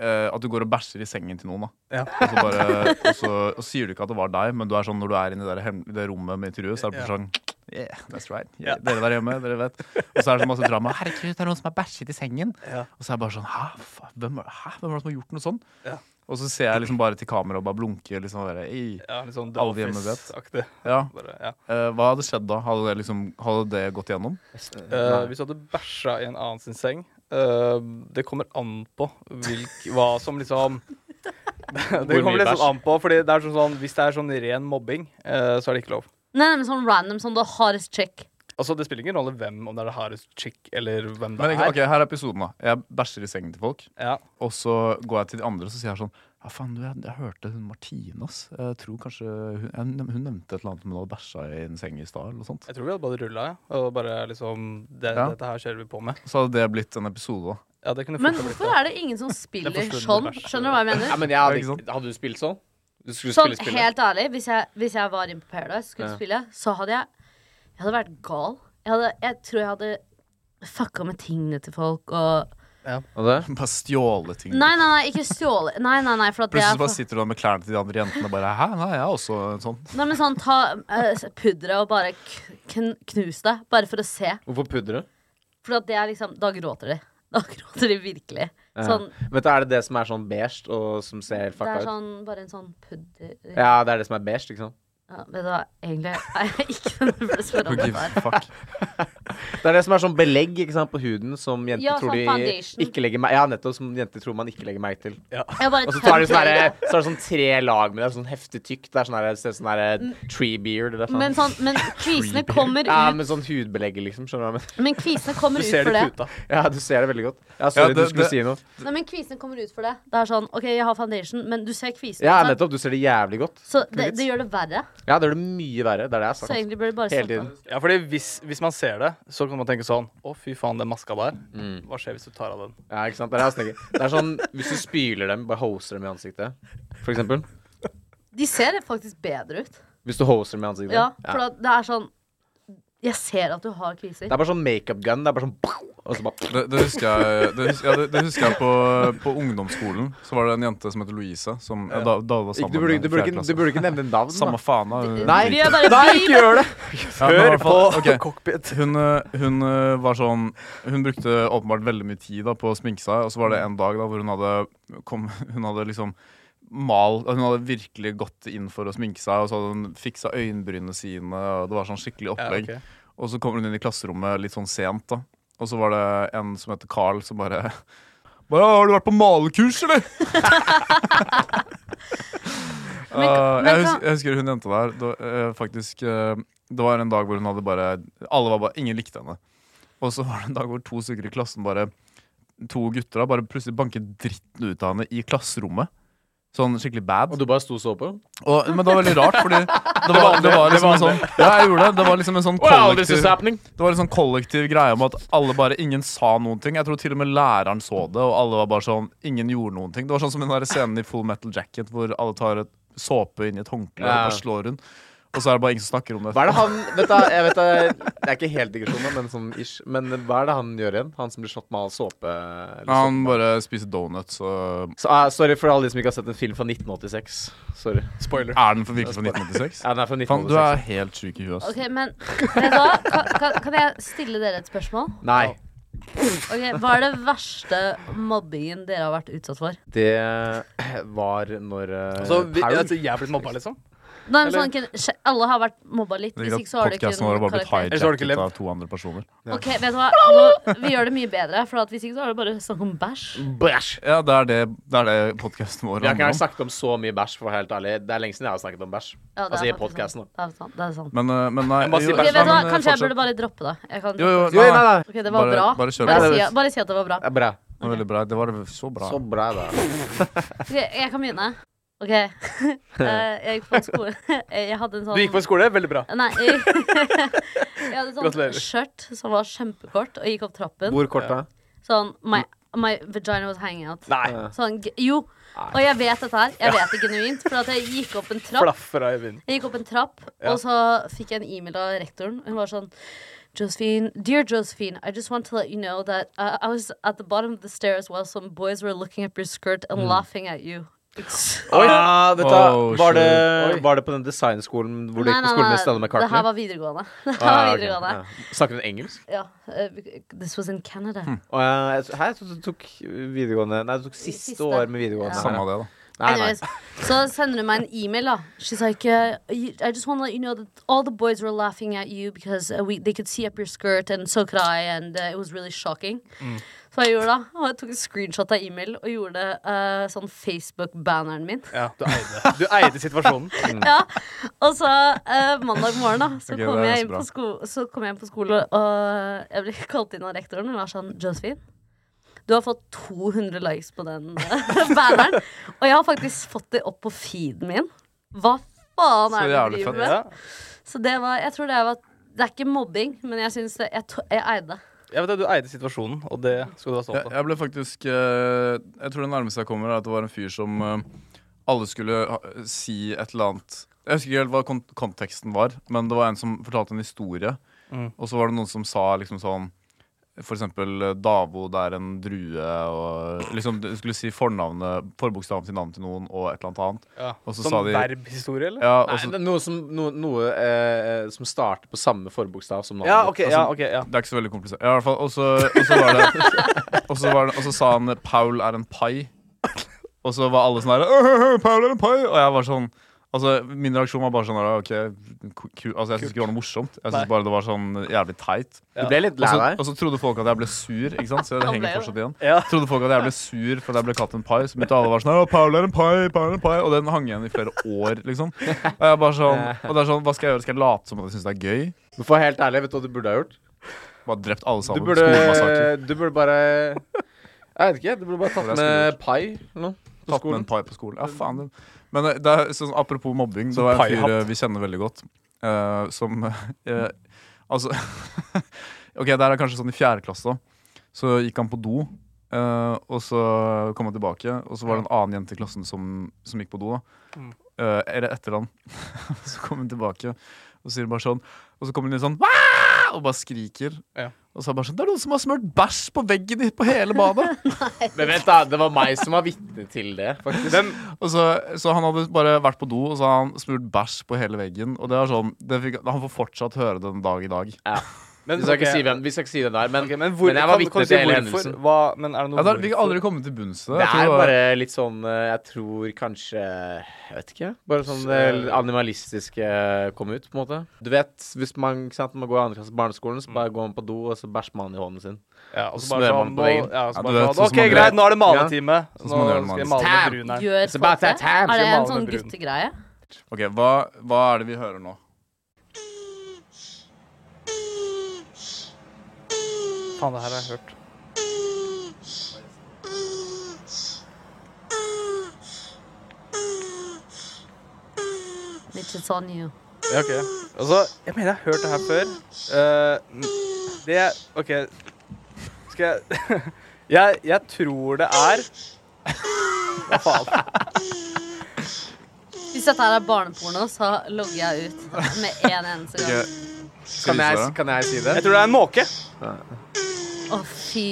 [SPEAKER 2] eh, at du går og bæsjer i sengen til noen, da.
[SPEAKER 5] Ja.
[SPEAKER 2] Og så bare og så, og så sier du ikke at det var deg, men du er sånn når du er inne i det, der hem- det rommet med intervjuet, så er det bare sånn Yeah, that's right. Yeah, Dere der hjemme, dere vet. Og så er det så masse drama. Herregud, det er noen som har bæsjet i sengen.
[SPEAKER 5] Ja.
[SPEAKER 2] Og så er jeg bare sånn Hæ, fa- hvem, er- hæ? hvem er det som har gjort noe sånn?
[SPEAKER 5] Ja.
[SPEAKER 2] Og så ser jeg liksom bare til kamera og bare blunker. Liksom, og bare, «Ei».
[SPEAKER 5] Ja, litt sånn
[SPEAKER 2] Alle hjemme
[SPEAKER 5] Office-aktig.
[SPEAKER 2] ja.
[SPEAKER 5] Bare, ja.
[SPEAKER 2] Eh, hva hadde skjedd da? Hadde det, liksom, hadde det gått igjennom?
[SPEAKER 5] Eh, hvis du hadde bæsja i en annen sin seng eh, Det kommer an på hvilk, hva som liksom Det
[SPEAKER 6] Hvor mye
[SPEAKER 5] kommer liksom
[SPEAKER 6] bæsj?
[SPEAKER 5] an på, Fordi det er sånn, sånn hvis det er sånn ren mobbing, eh, så er det ikke lov.
[SPEAKER 3] Nei, nei, men sånn random, sånn the hardest check.
[SPEAKER 5] Altså, Det spiller ingen rolle hvem, om det er det hardest chick eller hvem det
[SPEAKER 2] Men ikke-
[SPEAKER 5] er.
[SPEAKER 2] ok, Her er episoden. da Jeg bæsjer i sengen til folk.
[SPEAKER 5] Ja.
[SPEAKER 2] Og så går jeg til de andre og så sier jeg sånn Ja, faen, du, jeg, jeg hørte hun Martine, ass. Jeg tror kanskje Hun, jeg, nev- hun nevnte et eller annet om hun hadde bæsja i en seng i stad, eller noe sånt.
[SPEAKER 5] Jeg tror vi hadde bare rulla, ja. Og bare liksom det,
[SPEAKER 2] Ja.
[SPEAKER 5] Dette her kjører vi på med.
[SPEAKER 2] Så hadde det blitt en episode, da.
[SPEAKER 5] Ja, det kunne fort
[SPEAKER 3] Men
[SPEAKER 5] ha blitt
[SPEAKER 3] hvorfor
[SPEAKER 5] det.
[SPEAKER 3] er det ingen som spiller
[SPEAKER 5] Det er
[SPEAKER 3] sånn?
[SPEAKER 5] forsvunnet vers.
[SPEAKER 3] Skjønner du hva jeg mener?
[SPEAKER 6] Ja, men jeg hadde,
[SPEAKER 2] Er det ikke
[SPEAKER 6] ikke- hadde du spilt sånn? Du skulle
[SPEAKER 3] Sånn
[SPEAKER 6] spille spillet.
[SPEAKER 3] helt ærlig, hvis jeg, hvis jeg var inne på Paradise skulle
[SPEAKER 6] Ja.
[SPEAKER 3] spille, så hadde jeg Jeg hadde vært gal. Jeg, hadde, jeg tror jeg hadde fucka med tingene til folk og
[SPEAKER 6] Og det?
[SPEAKER 2] Bare stjåle
[SPEAKER 6] Mm.
[SPEAKER 2] ting.
[SPEAKER 3] Nei, nei, nei, ikke stjåle. Nei, nei, nei, for at det er
[SPEAKER 2] Plutselig bare
[SPEAKER 3] for...
[SPEAKER 2] sitter du der med klærne til de andre jentene og bare Hæ, nei, jeg er også en sånn.
[SPEAKER 3] Nei, men sånn, ta eh, pudderet og bare k- kn knus det. Bare for å se.
[SPEAKER 6] Hvorfor pudre?
[SPEAKER 3] For at det er liksom Da gråter de. Da gråter de virkelig.
[SPEAKER 6] Ja.
[SPEAKER 3] Sånn,
[SPEAKER 6] Vet du, er det det som er sånn beige, og som ser
[SPEAKER 3] det
[SPEAKER 6] helt fucka
[SPEAKER 3] er
[SPEAKER 6] ut?
[SPEAKER 3] sånn, bare en sånn pudder ja.
[SPEAKER 6] Ja, det er det som er beige, ikke sant?
[SPEAKER 3] Vet du hva, egentlig er jeg ikke den du burde spørre om
[SPEAKER 2] Who
[SPEAKER 3] dette her.
[SPEAKER 2] gives a fuck?
[SPEAKER 6] Det er det som er sånn belegg ikke sant, på huden som jenter
[SPEAKER 3] Ja,
[SPEAKER 6] tror
[SPEAKER 3] sånn
[SPEAKER 6] de
[SPEAKER 3] foundation.
[SPEAKER 6] ikke legger merke Ja, nettopp. Som jenter tror man ikke legger merke til.
[SPEAKER 3] Jeg bare
[SPEAKER 6] Og så tar de sånn
[SPEAKER 3] tømmer
[SPEAKER 6] derre-
[SPEAKER 3] det.
[SPEAKER 6] så er det sånn tre lag med det. Sånn heftig tykt. Det er sånn derre- det ser ut som sånn derre tree beard eller faen.
[SPEAKER 3] Mm. Men, sånn, men kvisene kommer
[SPEAKER 6] Ja,
[SPEAKER 3] ut
[SPEAKER 6] med sånn hudbelegg, liksom. Skjønner du hva jeg mener?
[SPEAKER 3] Men kvisene kommer
[SPEAKER 5] Du
[SPEAKER 3] ut
[SPEAKER 5] ser
[SPEAKER 3] for
[SPEAKER 5] det i
[SPEAKER 3] det.
[SPEAKER 5] puta.
[SPEAKER 6] Ja, du ser det veldig godt. Ja, sorry,
[SPEAKER 2] Ja, det-
[SPEAKER 6] du
[SPEAKER 2] det-
[SPEAKER 6] skulle si noe.
[SPEAKER 3] Nei, men kvisene kommer ut for det. Det er sånn, OK, jeg har foundation, men du ser kvisene.
[SPEAKER 6] Ja,
[SPEAKER 3] ikke sant?
[SPEAKER 6] nettopp. Du ser det jævlig godt.
[SPEAKER 3] Så det, det gjør det verre.
[SPEAKER 6] Ja, det gjør det mye verre. Det er det jeg
[SPEAKER 3] Så
[SPEAKER 6] har sagt.
[SPEAKER 3] egentlig burde du bare
[SPEAKER 6] Hele
[SPEAKER 3] stoppe.
[SPEAKER 6] tiden.
[SPEAKER 5] Ja, fordi hvis, hvis man ser det, så kan man tenke sånn Å, fy faen, den maska der. Hva skjer hvis du tar av den?
[SPEAKER 6] Ja, ikke sant? Det er, det jeg snakker. det er sånn hvis du spyler dem, bare hoser dem i ansiktet, for eksempel.
[SPEAKER 3] De ser faktisk bedre ut.
[SPEAKER 6] Hvis du hoser dem i ansiktet.
[SPEAKER 3] Ja, for at det er sånn Jeg ser at du har kriser.
[SPEAKER 6] Det er bare sånn makeup gun. Det er bare sånn Og så bare
[SPEAKER 7] Det, det husker jeg, det husker, ja, det, det husker jeg på, på ungdomsskolen. Så var det en jente som het Louisa. Som, ja, da, da var sammen
[SPEAKER 6] du, burde,
[SPEAKER 7] med
[SPEAKER 6] du, burde ikke, du burde ikke nevne navn. da.
[SPEAKER 2] Samme faen da. hun-
[SPEAKER 6] Nei,
[SPEAKER 3] Vi er bare
[SPEAKER 6] nei,
[SPEAKER 3] vi-
[SPEAKER 6] ikke gjør det!
[SPEAKER 2] Ja, men i hvert fall- ok.
[SPEAKER 5] cockpit.
[SPEAKER 2] Hun, eh, hun eh, var sånn Hun brukte åpenbart veldig mye tid da, på å sminke seg. Og så var det en dag da, hvor hun hadde, kom, hun hadde liksom mal, Hun hadde virkelig gått inn for å sminke seg, og så hadde hun fiksa øyenbrynene sine. Og det var sånn skikkelig
[SPEAKER 5] Ja,
[SPEAKER 2] opplegg
[SPEAKER 5] ok.
[SPEAKER 2] Og så kommer hun inn i klasserommet litt sånn sent, da. Og så var det en som heter Carl, som bare bare, Har du vært på malekurs, eller?
[SPEAKER 3] Men ka-
[SPEAKER 2] Eh,
[SPEAKER 3] men
[SPEAKER 2] jeg,
[SPEAKER 3] ka-
[SPEAKER 2] husker, jeg husker hun jenta der. Det, eh, faktisk, eh, det var en dag hvor hun hadde bare Alle var bare, Ingen likte henne. Og så var det en dag hvor to stykker i klassen bare To gutter da, bare plutselig banket dritten ut av henne i klasserommet. Sånn skikkelig bad.
[SPEAKER 6] Og du bare sto og så på?
[SPEAKER 2] Og, men det var veldig rart, fordi det var, det var liksom en sånn Ja, jeg gjorde det. Det var liksom en sånn kollektiv
[SPEAKER 6] happening.
[SPEAKER 2] det var en sånn kollektiv greie om at alle bare, ingen sa noen ting. Jeg tror til og med læreren så det, og alle var bare sånn Ingen gjorde noen ting. Det var sånn som den der scenen i Full Metal Jacket hvor alle tar et såpe inn i et håndkle
[SPEAKER 6] Ja.
[SPEAKER 2] og bare slår rundt. Og så er det bare ingen som snakker om det.
[SPEAKER 6] Hva er det han vet du, jeg vet det, det er ikke helt digresjon, da, men sånn ish. Men hva er det han gjør igjen? Han som blir slått med all såpe? Eller
[SPEAKER 2] Ja,
[SPEAKER 6] såpe?
[SPEAKER 2] han bare spiser donuts, og
[SPEAKER 6] Så, ah, sorry for alle de som ikke har sett en film fra 1986. Sorry.
[SPEAKER 5] Spoiler.
[SPEAKER 2] Er den for virkelig fra 1986?
[SPEAKER 6] Ja, den er fra
[SPEAKER 2] Faen,
[SPEAKER 6] 1986.
[SPEAKER 2] du er helt sjuk i huet. ass.
[SPEAKER 3] Ok, men vet du hva? Kan, kan, kan jeg stille dere et spørsmål?
[SPEAKER 6] Nei.
[SPEAKER 3] Ok, Hva er det verste mobbingen dere har vært utsatt for?
[SPEAKER 6] Det var når eh,
[SPEAKER 5] Så vi,
[SPEAKER 6] Paul-
[SPEAKER 5] altså, jeg er blitt mobba, liksom?
[SPEAKER 3] Nei, men
[SPEAKER 6] Eller-
[SPEAKER 3] sånn, kun- sj- alle har vært mobba litt. Hvis ikke så har det kun
[SPEAKER 2] Podkasten vår har bare blitt
[SPEAKER 3] karakter.
[SPEAKER 5] Ellers har du ikke
[SPEAKER 2] hijacket
[SPEAKER 5] levd.
[SPEAKER 2] av to andre personer.
[SPEAKER 3] Ok, vet du hva? Nå, vi gjør det mye bedre, for at hvis ikke så har det bare snakk om bæsj.
[SPEAKER 6] Bæsj!
[SPEAKER 2] Ja, det er det, det, er det podkasten vår
[SPEAKER 6] Vi har ikke
[SPEAKER 2] handler
[SPEAKER 6] engang
[SPEAKER 2] om.
[SPEAKER 6] snakket om så mye bæsj, for å være helt ærlig. Det er lenge siden jeg har snakket om bæsj.
[SPEAKER 3] Ja, det
[SPEAKER 6] altså
[SPEAKER 3] er
[SPEAKER 6] i
[SPEAKER 3] faktisk
[SPEAKER 6] podkasten.
[SPEAKER 3] sant. Det er sant. Det er sant.
[SPEAKER 2] Men, eh, men nei
[SPEAKER 5] Jeg må si
[SPEAKER 2] jo,
[SPEAKER 3] Ok, vet du hva?
[SPEAKER 2] men, eh,
[SPEAKER 3] Kanskje jeg
[SPEAKER 2] fortsett.
[SPEAKER 3] burde bare droppe det. Jeg kan
[SPEAKER 2] Jo, jo,
[SPEAKER 6] Jo, nei, nei.
[SPEAKER 3] Ok, det var
[SPEAKER 2] Bare-
[SPEAKER 3] bra.
[SPEAKER 2] bare kjør
[SPEAKER 3] bare,
[SPEAKER 6] på.
[SPEAKER 3] si, bare si at det var bra.
[SPEAKER 6] Det er bra.
[SPEAKER 2] Det var veldig bra. Det var så bra.
[SPEAKER 6] Så bra, da.
[SPEAKER 3] Ok, jeg kan begynne. OK. Eh, jeg gikk på en skole Jeg hadde en sånn
[SPEAKER 5] Du gikk på skole? Veldig bra.
[SPEAKER 3] Nei. Jeg, jeg hadde sånn
[SPEAKER 5] Gratulerer.
[SPEAKER 3] skjørt som var kjempekort, og gikk opp trappen.
[SPEAKER 6] Hvor kort, da?
[SPEAKER 3] Sånn my, my vagina was hanging out.
[SPEAKER 5] Nei.
[SPEAKER 3] Sånn, g- jo. Og jeg vet dette her. Jeg vet det genuint. For at jeg gikk opp en trapp,
[SPEAKER 5] Flaffer av Øyvind.
[SPEAKER 3] jeg gikk opp en trapp
[SPEAKER 5] Ja.
[SPEAKER 3] og så fikk jeg en e-mail av rektoren. Hun var sånn Josephine, dear Josephine, I just want to let you know that uh, I was at the bottom of the stairs while some boys were looking up your skirt and
[SPEAKER 6] Mm.
[SPEAKER 3] laughing at you.
[SPEAKER 6] Oi! Ah, vet du, hva?
[SPEAKER 2] Oh,
[SPEAKER 6] var, det,
[SPEAKER 5] Oi.
[SPEAKER 6] var det på den designskolen hvor du
[SPEAKER 3] Nei,
[SPEAKER 6] gikk på
[SPEAKER 3] nei,
[SPEAKER 6] skolen med
[SPEAKER 3] nei,
[SPEAKER 6] Stella
[SPEAKER 3] Det her
[SPEAKER 6] McCartney?
[SPEAKER 3] var videregående. Det her var
[SPEAKER 6] Ah, ok,
[SPEAKER 3] videregående.
[SPEAKER 6] ja. Snakket hun engelsk?
[SPEAKER 3] Ja. eh, bec- This was in Canada.
[SPEAKER 6] Å, ja, jeg, her, jeg trodde du tok videregående Nei, du tok siste,
[SPEAKER 3] Siste.
[SPEAKER 6] år med videregående.
[SPEAKER 3] Ja.
[SPEAKER 2] Samme av det, da.
[SPEAKER 6] Nei, nei.
[SPEAKER 3] Anyways, så sender hun meg en e-mail, da. She's like, uh, you- I just want to let you know that all the boys were laughing at you because uh, we, they could see up your skirt, and so could I, and uh, it was really shocking.
[SPEAKER 6] Mm.
[SPEAKER 3] Så jeg gjorde da, og jeg tok en screenshot av e-mail og gjorde det eh, sånn Facebook-banneren min.
[SPEAKER 5] Ja, du eide. Du eide situasjonen.
[SPEAKER 6] Mm.
[SPEAKER 3] Ja, Og så eh, mandag morgen, da, så
[SPEAKER 2] Ok,
[SPEAKER 3] kom
[SPEAKER 2] det er så
[SPEAKER 3] jeg inn
[SPEAKER 2] bra.
[SPEAKER 3] på, sko så kom jeg inn på skole, og jeg ble kalt inn av rektoren. Hun var sånn Josephine, du har fått 200 likes på den eh, banneren. Og jeg har faktisk fått det opp på feeden min. Hva faen
[SPEAKER 2] Så
[SPEAKER 3] er det du
[SPEAKER 2] jævlig fett.
[SPEAKER 3] driver med?
[SPEAKER 5] Ja.
[SPEAKER 3] Så det var Jeg tror det var Det er ikke mobbing, men jeg syns det Jeg, to- jeg eide det.
[SPEAKER 5] Jeg vet at Du eide situasjonen, og det skal du være
[SPEAKER 2] Jeg,
[SPEAKER 5] stolt av.
[SPEAKER 2] jeg ble faktisk eh, Jeg tror det nærmeste jeg kommer, er at det var en fyr som eh, alle skulle ha, si et eller annet Jeg husker ikke helt hva kon konteksten var, men det var en som fortalte en historie.
[SPEAKER 5] Mm.
[SPEAKER 2] Og så var det noen som sa liksom sånn for eksempel eh, Davo, det er en drue og liksom, Du skulle si fornavnet, forbokstaven til navnet til noen og et eller annet annet.
[SPEAKER 5] Ja.
[SPEAKER 2] Og så sa
[SPEAKER 5] Sånn
[SPEAKER 2] de-
[SPEAKER 5] verbhistorie, eller?
[SPEAKER 2] Ja, og
[SPEAKER 6] Nei,
[SPEAKER 2] så-
[SPEAKER 6] det er noe som, noe, noe, eh, som starter på samme forbokstav som navnet.
[SPEAKER 5] Ja,
[SPEAKER 6] ditt. Altså,
[SPEAKER 5] OK. ja, ok, ja.
[SPEAKER 2] Det er ikke så veldig komplisert. Ja, i hvert fall, og så og så var det Og så var det- og så sa han 'Paul er en pai'. Og så var alle sånn der «Øh, øh, 'Paul er en pai'! Og jeg var sånn Altså, Min reaksjon var bare sånn der, OK, ku, ku, altså, jeg syns ikke det var noe morsomt. Jeg
[SPEAKER 5] Nei.
[SPEAKER 2] syns bare det var sånn jævlig teit.
[SPEAKER 6] Du ble litt
[SPEAKER 2] Og
[SPEAKER 6] lei
[SPEAKER 2] så,
[SPEAKER 6] deg?
[SPEAKER 2] og så trodde folk at jeg ble sur, ikke sant? så det
[SPEAKER 3] Han
[SPEAKER 2] henger
[SPEAKER 3] ble jo
[SPEAKER 2] fortsatt igjen.
[SPEAKER 5] Ja.
[SPEAKER 2] Trodde folk at jeg ble sur fordi jeg ble kalt en pai. Så begynte alle å være sånn «Å, 'Paul er en pai', Paul er en pai. Og den hang igjen i flere år, liksom. Og jeg bare sånn, og det er sånn, hva skal jeg gjøre? Skal jeg late som at jeg syns det er gøy?
[SPEAKER 6] Men for å være helt ærlig, vet du hva du burde ha gjort?
[SPEAKER 2] Bare drept alle sammen?
[SPEAKER 6] Du burde,
[SPEAKER 2] Skolemassakre.
[SPEAKER 6] du burde bare Jeg vet ikke. Du burde bare
[SPEAKER 2] Det er det jeg
[SPEAKER 6] tatt
[SPEAKER 2] skulle
[SPEAKER 6] med pai eller noe.
[SPEAKER 2] Tatt
[SPEAKER 6] På
[SPEAKER 2] med en
[SPEAKER 6] skolen.
[SPEAKER 2] pai på skolen. Ja, faen. det- Men eh, det er, sånn, apropos mobbing, det var en fyr
[SPEAKER 5] paihatt.
[SPEAKER 2] eh, vi kjenner veldig godt, eh, som eh, Altså OK, det her er kanskje sånn i fjerde klasse. da. Så gikk han på do, eh, og så kom han tilbake, og så var det en annen jente i klassen som, som gikk på do. da Eh, Eller etter han. så kom hun tilbake, og så sier hun bare sånn Og så kommer hun inn sånn «Wah!»
[SPEAKER 8] og bare skriker.
[SPEAKER 5] Ja.
[SPEAKER 8] Og så er det bare sånn Det er noen som har smurt bæsj på veggen i- på hele badet!
[SPEAKER 6] Men vent, da. Det var meg som var vitne til det, faktisk.
[SPEAKER 5] Hvem,
[SPEAKER 8] Og så, så han hadde bare vært på do, og så hadde han smurt bæsj på hele veggen. Og det var sånn, det fikk, Han får fortsatt høre det den dag i dag.
[SPEAKER 6] Ja.
[SPEAKER 5] men,
[SPEAKER 6] Vi skal ikke
[SPEAKER 5] ok,
[SPEAKER 6] si hvem, vi skal ikke si det der, men,
[SPEAKER 5] ok, men, hvor,
[SPEAKER 6] men jeg var
[SPEAKER 5] kan- kan
[SPEAKER 6] vitne
[SPEAKER 5] du si
[SPEAKER 6] til hele
[SPEAKER 5] hvorfor?
[SPEAKER 6] hendelsen.
[SPEAKER 5] Hva, men er det noe
[SPEAKER 2] Altså,
[SPEAKER 8] Ja, da, vi kan
[SPEAKER 5] hvorfor?
[SPEAKER 8] aldri komme til bunns til det. Jeg tror
[SPEAKER 6] Det er
[SPEAKER 8] det var-
[SPEAKER 6] bare litt sånn eh, Jeg tror kanskje Jeg vet ikke. Bare sånn det animalistiske eh, kom ut, på en måte. Du vet, hvis man, ikke sant, man går i andre klasse på barneskolen, så bare går man på do, og så bæsjer man i hånden sin.
[SPEAKER 5] Ja, og så
[SPEAKER 6] Smører
[SPEAKER 5] bare sånn,
[SPEAKER 6] man på
[SPEAKER 5] nå,
[SPEAKER 6] veggen.
[SPEAKER 5] ja, og
[SPEAKER 8] Ja,
[SPEAKER 5] så
[SPEAKER 8] du vet,
[SPEAKER 5] bare sånn
[SPEAKER 8] sånn som
[SPEAKER 5] OK,
[SPEAKER 8] man gjør.
[SPEAKER 5] greit, nå er det maletime. Nå
[SPEAKER 2] som man gjør når
[SPEAKER 5] skal jeg
[SPEAKER 2] man-
[SPEAKER 5] male med
[SPEAKER 6] Tam!
[SPEAKER 5] bruneren.
[SPEAKER 3] Gjør
[SPEAKER 6] It's
[SPEAKER 3] folk
[SPEAKER 6] about
[SPEAKER 3] det?
[SPEAKER 6] that
[SPEAKER 3] Er
[SPEAKER 6] time,
[SPEAKER 3] det
[SPEAKER 6] så
[SPEAKER 3] en
[SPEAKER 6] maler
[SPEAKER 3] sånn
[SPEAKER 6] med brun.
[SPEAKER 3] guttegreie?
[SPEAKER 2] Ok, hva, hva er det vi hører nå?
[SPEAKER 5] Faen, det her har jeg hørt.
[SPEAKER 3] Bitch, it's on you.
[SPEAKER 5] Ja, ok. Altså, jeg mener jeg har hørt det her før. Eh, det OK. Skal jeg jeg, jeg tror det er Hva faen?
[SPEAKER 3] Hvis dette her er barneporno, så logger jeg ut med en eneste
[SPEAKER 2] Ok,
[SPEAKER 3] gang.
[SPEAKER 2] skal
[SPEAKER 6] Kan
[SPEAKER 2] vi
[SPEAKER 6] jeg,
[SPEAKER 2] svare?
[SPEAKER 6] kan jeg si
[SPEAKER 5] Jeg
[SPEAKER 6] det?
[SPEAKER 5] tror det er en måke.
[SPEAKER 3] Å, fy.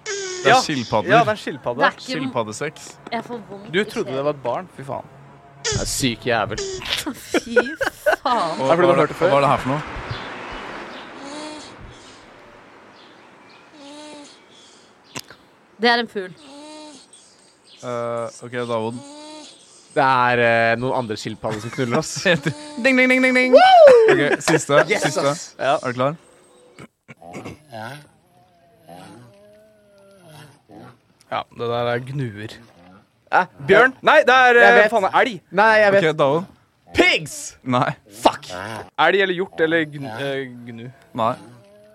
[SPEAKER 2] Det
[SPEAKER 5] Ja.
[SPEAKER 2] er skilpadder.
[SPEAKER 5] Ja, det er en skilpadde.
[SPEAKER 3] Det er ikke
[SPEAKER 2] Skilpaddesex.
[SPEAKER 3] Jeg får vondt.
[SPEAKER 5] Du
[SPEAKER 3] i
[SPEAKER 5] trodde det
[SPEAKER 3] sjelen.
[SPEAKER 5] var et barn? Fy faen.
[SPEAKER 6] Jeg er syk jævel.
[SPEAKER 3] Fy faen.
[SPEAKER 2] Og
[SPEAKER 5] Er det fordi du
[SPEAKER 2] hva
[SPEAKER 5] har hørt det før?
[SPEAKER 2] Hva er det her for noe?
[SPEAKER 3] Det er en fugl.
[SPEAKER 2] Eh, ok, Davod.
[SPEAKER 6] Det er eh, noen andre skilpadder som knuller oss.
[SPEAKER 2] ding, ding, ding, ding, ding. Ok, siste. siste.
[SPEAKER 5] Ja.
[SPEAKER 2] Er du klar?
[SPEAKER 5] ja, det der er gnuer. Eh, bjørn? Nei, det er
[SPEAKER 6] Jeg
[SPEAKER 5] eh,
[SPEAKER 6] vet.
[SPEAKER 5] faen meg elg.
[SPEAKER 6] Nei, jeg
[SPEAKER 2] Ok,
[SPEAKER 6] vet
[SPEAKER 2] Davod.
[SPEAKER 6] Pigs!
[SPEAKER 2] Nei.
[SPEAKER 5] Elg eller hjort eller gnu. eh, gnu.
[SPEAKER 2] Nei.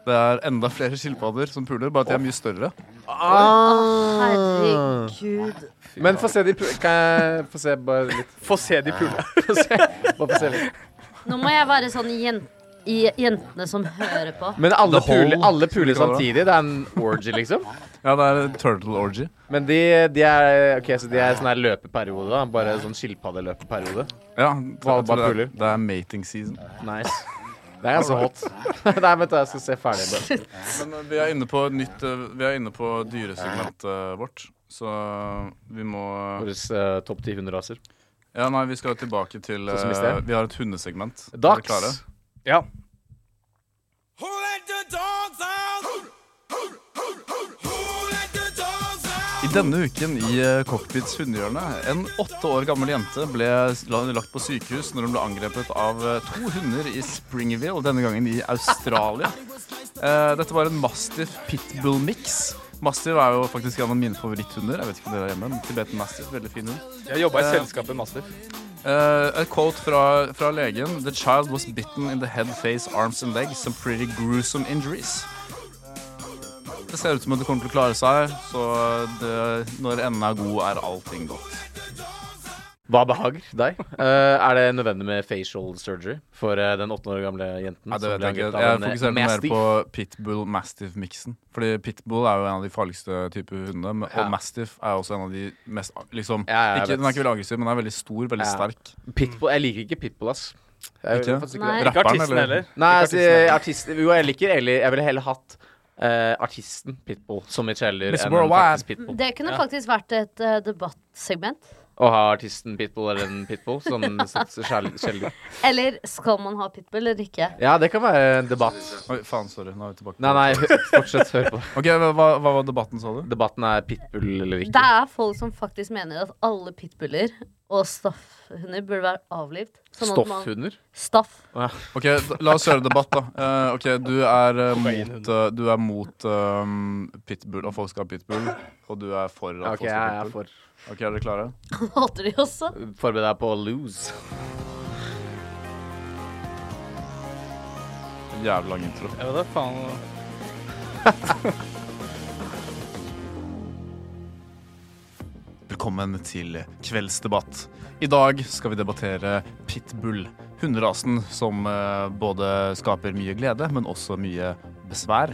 [SPEAKER 2] Det er enda flere skilpadder som puler, bare at de er mye større.
[SPEAKER 3] Herregud.
[SPEAKER 6] Men få se de pu- Kan jeg få se bare litt?
[SPEAKER 5] Få se de pule.
[SPEAKER 6] Få se. Bare få se litt.
[SPEAKER 3] Nå må jeg være sånn jen i jentene som hører på.
[SPEAKER 6] Men alle
[SPEAKER 2] The Hole,
[SPEAKER 6] puler, alle puler
[SPEAKER 2] som de
[SPEAKER 6] samtidig. Det er en orgy, liksom.
[SPEAKER 2] Ja, det er turtle orgy.
[SPEAKER 6] Men de, de er Ok, så de er sånn her løpeperiode, da. Bare sånn skilpaddeløpeperiode.
[SPEAKER 2] Ja,
[SPEAKER 6] Hva-
[SPEAKER 2] jeg tror
[SPEAKER 6] hva
[SPEAKER 2] det,
[SPEAKER 6] puler?
[SPEAKER 2] er, det er mating season.
[SPEAKER 6] Nice. Det er ganske hot. Nei, vent, da. Jeg skal se ferdig. Bare.
[SPEAKER 2] Men eh, vi er inne på, et nytt, eh, vi er inne på dyresegmentet vårt, så vi må
[SPEAKER 6] Våre eh, topp 10 hunderaser.
[SPEAKER 2] Ja, nei, vi skal jo tilbake til
[SPEAKER 6] Sånn som i
[SPEAKER 2] eh,
[SPEAKER 6] sted?
[SPEAKER 2] Vi har et hundesegment. Er dere klare?
[SPEAKER 6] Dags.
[SPEAKER 5] Ja.
[SPEAKER 9] Who let the dogs out? Who let the dogs out?
[SPEAKER 2] I denne uken i eh, Cockpits hundehjørne. En åtte år gammel jente ble s- la- lagt på sykehus når hun ble angrepet av eh, to hunder i Springville, denne gangen i Australia. Eh, Dette var en mastiff pitbull mix. Mastiff er jo faktisk en av mine favoritthunder. Jeg vet ikke om dere er hjemme, men Tibetan mastiff, veldig fin hund.
[SPEAKER 5] Jeg jobba i
[SPEAKER 2] Eh.
[SPEAKER 5] selskapet Master.
[SPEAKER 2] Eh, et quote fra, fra legen. The child was bitten in the head, face, arms and legs. Some pretty gruesome injuries. Det ser ut som at det kommer til å klare seg, så det, når enden er god, er allting godt.
[SPEAKER 6] Hva behager deg? Eh, er det nødvendig med facial surgery for eh, den åtte år gamle jenten?
[SPEAKER 2] Nei, det
[SPEAKER 6] som
[SPEAKER 2] vet jeg
[SPEAKER 6] ble
[SPEAKER 2] ikke.
[SPEAKER 6] angrepet av
[SPEAKER 2] Jeg
[SPEAKER 6] en, eh,
[SPEAKER 2] fokuserte mer
[SPEAKER 6] mastiff?
[SPEAKER 2] på pitbull-mastiff-miksen. Fordi pitbull er jo en av de farligste typer hunder, men- og
[SPEAKER 6] Ja.
[SPEAKER 2] mastiff er også en av de mest liksom,
[SPEAKER 6] Ja, ja, jeg
[SPEAKER 2] ikke, Den
[SPEAKER 6] vet.
[SPEAKER 2] er ikke veldig aggressiv, men den er veldig stor, veldig
[SPEAKER 6] Ja.
[SPEAKER 2] sterk.
[SPEAKER 6] Pitbull. Jeg liker ikke pitbull, ass. Jeg,
[SPEAKER 2] Ikke?
[SPEAKER 6] gjør faktisk ikke det.
[SPEAKER 3] Nei.
[SPEAKER 5] Ikke
[SPEAKER 2] Rapperen,
[SPEAKER 5] artisten
[SPEAKER 2] eller?
[SPEAKER 5] heller. Ikke
[SPEAKER 6] Nei, altså,
[SPEAKER 5] artisten.
[SPEAKER 6] artist, jo, jeg liker eller Jeg ville heller hatt eh, artisten Pitbull som i Kjeller
[SPEAKER 2] Miss
[SPEAKER 6] enn en
[SPEAKER 2] Worldwide.
[SPEAKER 6] faktisk Pitbull.
[SPEAKER 3] Det kunne faktisk vært et eh, debattsegment.
[SPEAKER 6] Å ha artisten Pitbull eller en Pitbull som Kjeller.
[SPEAKER 3] Eller skal man ha pitbull eller ikke?
[SPEAKER 6] Ja, det kan være en debatt.
[SPEAKER 2] Oi, faen, sorry. Nå er vi tilbake.
[SPEAKER 6] Nei, nei, hø- fortsett. Hør på.
[SPEAKER 2] Ok, hva, hva var debatten, sa du?
[SPEAKER 6] Debatten er Pitbull eller
[SPEAKER 3] Det
[SPEAKER 6] ikke.
[SPEAKER 3] er folk som faktisk mener at alle pitbuller og staffhunder burde være avlivd. Sånn at man-
[SPEAKER 6] Stoffhunder?
[SPEAKER 3] Staff.
[SPEAKER 2] Ok, d- La oss kjøre debatt, da. Eh, ok, Du er eh, mot, eh, du er mot um, pitbull, at folk skal ha pitbull. Og du er for at
[SPEAKER 6] OK,
[SPEAKER 2] folk
[SPEAKER 6] jeg
[SPEAKER 2] skal ha
[SPEAKER 6] er
[SPEAKER 2] pitbull.
[SPEAKER 6] for.
[SPEAKER 2] Ok, Er dere klare?
[SPEAKER 3] Hater de også?
[SPEAKER 6] Forbered deg på å lose.
[SPEAKER 2] En Jævlig lang intro.
[SPEAKER 5] Jeg vet da faen.
[SPEAKER 2] Velkommen til kveldsdebatt. I dag skal vi debattere pitbull. Hunderasen som eh, både skaper mye glede, men også mye besvær.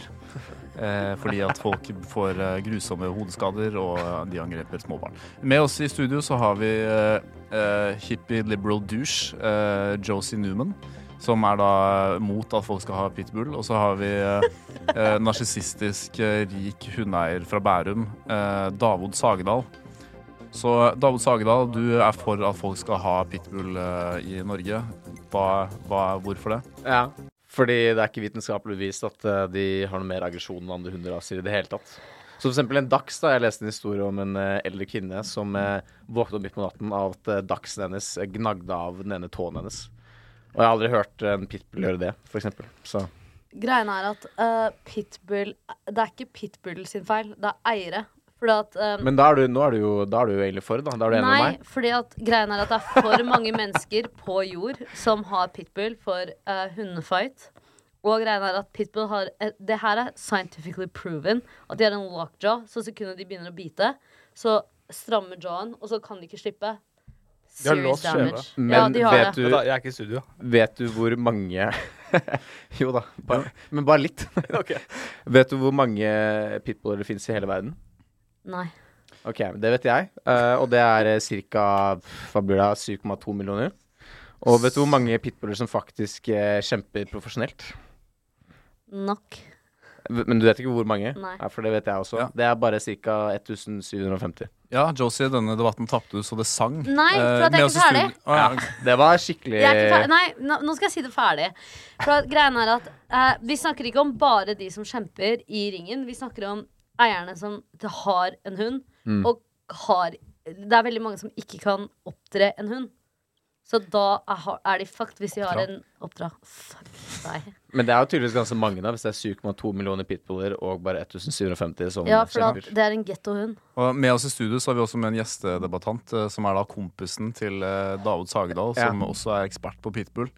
[SPEAKER 2] Eh, fordi at folk får eh, grusomme hodeskader, og eh, de angreper småbarn. Med oss i studio så har vi eh, eh, hippie liberal douche eh, Josie Newman. som er da mot at folk skal ha pitbull. Og så har vi eh, eh, narsissistisk eh, rik hundeeier fra Bærum, eh, Davod Sagedal. Så Davod Sagedal, du er for at folk skal ha pitbull eh, i Norge. Hva, hva, hvorfor det?
[SPEAKER 6] Ja. Fordi det er ikke vitenskapelig bevist at eh, de har noe mer aggresjon enn andre hunderaser i det hele tatt. Så for eksempel en dachs. da, Jeg leste en historie om en eh, eldre kvinne som eh, våkna opp midt på natten av at eh, dachsen hennes eh, gnagde av den ene tåen hennes. Og jeg har aldri hørt eh, en pitbull gjøre det, for eksempel. Så
[SPEAKER 3] Greien er at eh, pitbull Det er ikke pitbull sin feil, det er eiere. Fordi at eh,
[SPEAKER 6] Men da er du, nå er du jo, da er du jo egentlig for, da. Da er du enig med
[SPEAKER 3] Nei,
[SPEAKER 6] meg?
[SPEAKER 3] fordi at greien er at det er for mange mennesker på jord som har pitbull for eh, hundefight. Og greien er at pitbull har eh, Det her er scientifically proven. At de har en lockjaw, så sekundet de begynner å bite, så strammer jawen, og så kan de ikke slippe.
[SPEAKER 5] De har
[SPEAKER 3] Serious
[SPEAKER 5] låst skjeve.
[SPEAKER 3] damage.
[SPEAKER 6] Men
[SPEAKER 3] ja, de har
[SPEAKER 6] vet,
[SPEAKER 3] det.
[SPEAKER 5] Vent da,
[SPEAKER 6] du,
[SPEAKER 5] Jeg er ikke i studio.
[SPEAKER 6] vet du hvor mange Jo da, bare, men bare litt.
[SPEAKER 5] Ok.
[SPEAKER 6] Vet du hvor mange pitbuller det fins i hele verden?
[SPEAKER 3] Nei.
[SPEAKER 6] Ok, Det vet jeg, eh, og det er ca. 7,2 millioner. Og vet du hvor mange pitbuller som faktisk eh, kjemper profesjonelt?
[SPEAKER 3] Nok.
[SPEAKER 6] V- Men du vet ikke hvor mange?
[SPEAKER 3] Nei.
[SPEAKER 6] Ja, for det vet jeg også.
[SPEAKER 2] Ja.
[SPEAKER 6] Det er bare ca. 1750.
[SPEAKER 2] Ja, Josie, denne debatten tapte du så det sang. Eh,
[SPEAKER 3] Nei, for at jeg er ikke ferdig.
[SPEAKER 6] Det var skikkelig
[SPEAKER 3] Jeg er ikke ferdig. Nei, nå, nå skal jeg si det ferdig. For at greien er at eh, Vi snakker ikke om bare de som kjemper i ringen. Vi snakker om eierne som har en hund, og har Det er veldig mange som ikke kan oppdre en hund. Så da er, har- er de fucked hvis de har
[SPEAKER 2] Oppdra.
[SPEAKER 3] en Oppdra. Fuck deg.
[SPEAKER 6] Men det er jo tydeligvis ganske mange, da, hvis det er 7,2 millioner pitbuller og bare 1750 som
[SPEAKER 3] Ja, for at
[SPEAKER 6] kjemper.
[SPEAKER 3] det er en gettohund.
[SPEAKER 2] Og med oss i studio så har vi også med en gjestedebattant, eh, som er da kompisen til eh, David Sagedal,
[SPEAKER 6] Ja.
[SPEAKER 2] som også er ekspert på pitbull.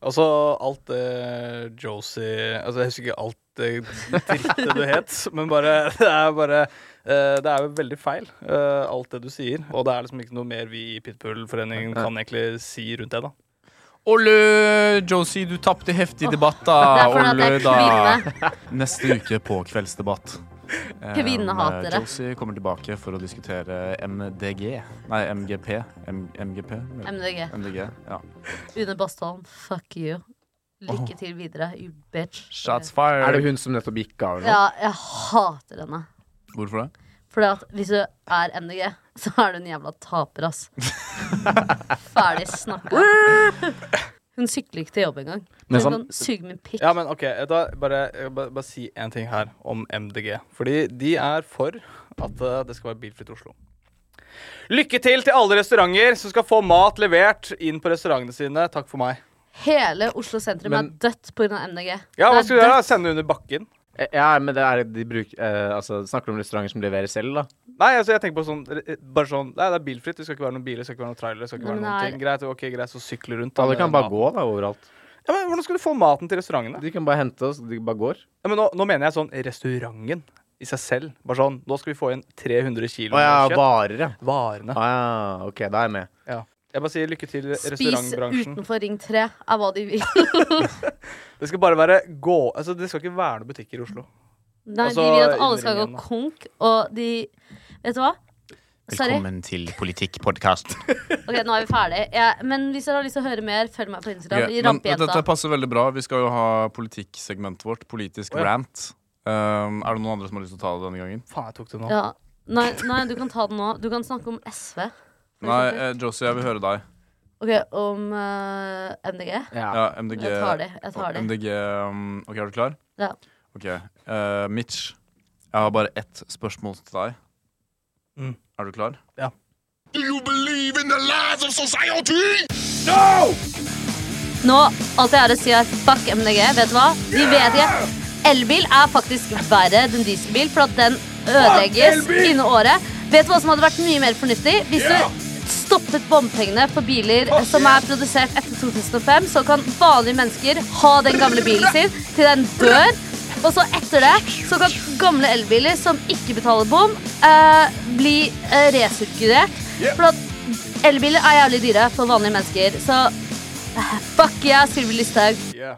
[SPEAKER 5] Altså alt det Josie Altså Jeg husker ikke alt det drittet du het, men bare Det er bare eh, Det er jo veldig feil, eh, alt det du sier. Og det er liksom ikke noe mer vi i Pitbull-foreningen kan egentlig si rundt det, da.
[SPEAKER 2] Olle, Josie, du tapte heftig debatt,
[SPEAKER 3] Det
[SPEAKER 2] da.
[SPEAKER 3] er fordi at det er kvinne.
[SPEAKER 2] Neste uke på Kveldsdebatt. Eh,
[SPEAKER 3] Kvinnehatere.
[SPEAKER 2] eh, Josie kommer tilbake for å diskutere MDG. Nei, MGP. M MGP?
[SPEAKER 3] MDG.
[SPEAKER 2] MDG, ja.
[SPEAKER 3] Une Bastholm, fuck you. Lykke til videre, you bitch.
[SPEAKER 2] Shots
[SPEAKER 6] Er det
[SPEAKER 2] fired.
[SPEAKER 6] hun som nettopp gikk av? eller noe?
[SPEAKER 3] Ja, jeg hater henne.
[SPEAKER 2] Hvorfor det?
[SPEAKER 3] Fordi at hvis du er MDG, så er du en jævla taper, ass. Ferdig snakka. Hun sykler ikke til jobb engang.
[SPEAKER 6] Men
[SPEAKER 3] Hun
[SPEAKER 6] sånn-
[SPEAKER 3] kan suge min pikk.
[SPEAKER 5] Ja, men OK. Da bare, jeg vil bare, bare si én ting her om MDG. Fordi de er for at eh, det skal være bilfritt i Oslo. Lykke til til alle restauranter som skal få mat levert inn på restaurantene sine. Takk for meg.
[SPEAKER 3] Hele Oslo sentrum er dødt pga. MDG.
[SPEAKER 5] Ja,
[SPEAKER 3] Det
[SPEAKER 5] hva
[SPEAKER 3] er
[SPEAKER 5] skal du gjøre?
[SPEAKER 3] dødt.
[SPEAKER 5] Sende under bakken?
[SPEAKER 6] Eh, Ja, men det er de bruk, eh, altså, Snakker du om restauranter som leverer selv, da?
[SPEAKER 5] Nei, altså jeg tenker på sånn re- Bare sånn Nei, det er bilfritt. Det skal ikke være noen biler, det skal ikke være noen trailere. det skal ikke
[SPEAKER 3] Nei,
[SPEAKER 5] være
[SPEAKER 3] men
[SPEAKER 5] noen
[SPEAKER 3] det er-
[SPEAKER 5] ting Greit, ok, greit, så sykle rundt. da,
[SPEAKER 6] Alle
[SPEAKER 5] med
[SPEAKER 6] kan bare
[SPEAKER 5] mat.
[SPEAKER 6] gå da, overalt.
[SPEAKER 5] Ja, men Hvordan skal du få maten til restaurantene?
[SPEAKER 6] De kan bare hente oss, de bare går.
[SPEAKER 5] Ja, men nå, nå mener jeg sånn restauranten i seg selv. Bare sånn Nå skal vi få inn 300 kilo
[SPEAKER 6] Å ja,
[SPEAKER 5] kjøtt.
[SPEAKER 6] varer, ja.
[SPEAKER 5] Varene.
[SPEAKER 6] Å Ah, ja, OK, da er jeg med.
[SPEAKER 5] Jeg bare sier lykke til
[SPEAKER 3] Spis
[SPEAKER 5] restaurantbransjen.
[SPEAKER 3] utenfor Ring 3 er hva de vil.
[SPEAKER 5] Det skal bare være gå... Altså, det skal ikke være noen butikker i Oslo.
[SPEAKER 3] Nei,
[SPEAKER 5] Altså,
[SPEAKER 3] de vil at alle skal gå
[SPEAKER 5] innringen, da.
[SPEAKER 3] konk, og de Vet du hva? Sorry.
[SPEAKER 2] til politikkpodkast.
[SPEAKER 3] Ok, nå er vi ferdig. Jeg- men hvis dere har lyst til å høre mer, følg meg på
[SPEAKER 2] Ok,
[SPEAKER 3] Instagram. I
[SPEAKER 2] men dette
[SPEAKER 3] Rampejenta.
[SPEAKER 2] passer veldig bra. Vi skal jo ha politikksegmentet vårt. Politisk
[SPEAKER 5] Å, ja.
[SPEAKER 2] rant. Um, er det noen andre som har lyst til å ta det denne gangen?
[SPEAKER 5] Faen, jeg tok det nå.
[SPEAKER 3] Ja. Nei, nei, du kan ta den nå. Du kan snakke om SV.
[SPEAKER 2] Nei, eh, Josie, jeg vil høre deg.
[SPEAKER 3] Ok, om eh, MDG.
[SPEAKER 2] Ja, MDG.
[SPEAKER 3] Jeg tar det. Jeg tar det.
[SPEAKER 2] MDG um, OK, er du klar?
[SPEAKER 3] Ja.
[SPEAKER 2] OK. eh, Mitch, jeg har bare ett spørsmål til deg.
[SPEAKER 5] Mm.
[SPEAKER 2] Er du klar?
[SPEAKER 4] Do you believe in the lies of society?
[SPEAKER 3] Nå, alt jeg har å si er fuck MDG, vet du hva? De vet ikke. Elbil er faktisk verre enn dieselbil, for at den ødelegges innen året. Vet du hva som hadde vært mye mer fornuftig? Hvis du stoppet bompengene for biler som er produsert etter 2005, så kan vanlige mennesker ha den gamle bilen sin til den dør. Og så etter det så kan gamle elbiler som ikke betaler bom, eh, bli eh, resirkulert. For at elbiler er jævlig dyre eh, for vanlige mennesker. Så Fuck yeah, Sylvi Listhaug.
[SPEAKER 5] Yeah.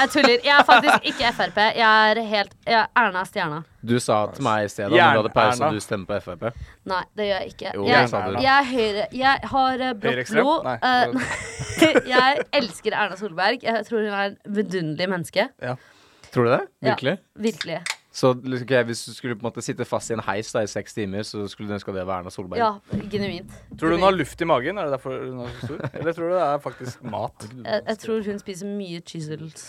[SPEAKER 3] Jeg tuller. Jeg er faktisk ikke Frp. Jeg er helt jeg er Erna Stjerna.
[SPEAKER 6] Du sa til meg i sted da når du hadde pause
[SPEAKER 5] Jern-Erna.
[SPEAKER 6] at du stemmer på Frp.
[SPEAKER 3] Nei, det gjør jeg ikke.
[SPEAKER 6] Jo,
[SPEAKER 5] jeg
[SPEAKER 3] jeg,
[SPEAKER 5] sa det.
[SPEAKER 3] jeg er høyre. Jeg har eh, blått
[SPEAKER 5] Høyreekstrem?
[SPEAKER 3] blod.
[SPEAKER 5] Nei.
[SPEAKER 3] Eh, nei. jeg elsker Erna Solberg. Jeg tror hun er en vidunderlig menneske.
[SPEAKER 6] Tror du det?
[SPEAKER 3] Ja.
[SPEAKER 6] Virkelig?
[SPEAKER 3] Virkelig.
[SPEAKER 6] Så liksom, ok, hvis du skulle på en måte sitte fast i en heis da i seks timer, så skulle du ønske at det var Erna Solberg?
[SPEAKER 3] Ja, genuint.
[SPEAKER 5] Tror du hun har luft i magen? Er det derfor hun er så stor? Eller tror du det er faktisk mat?
[SPEAKER 3] Jeg, jeg tror hun spiser mye chisels.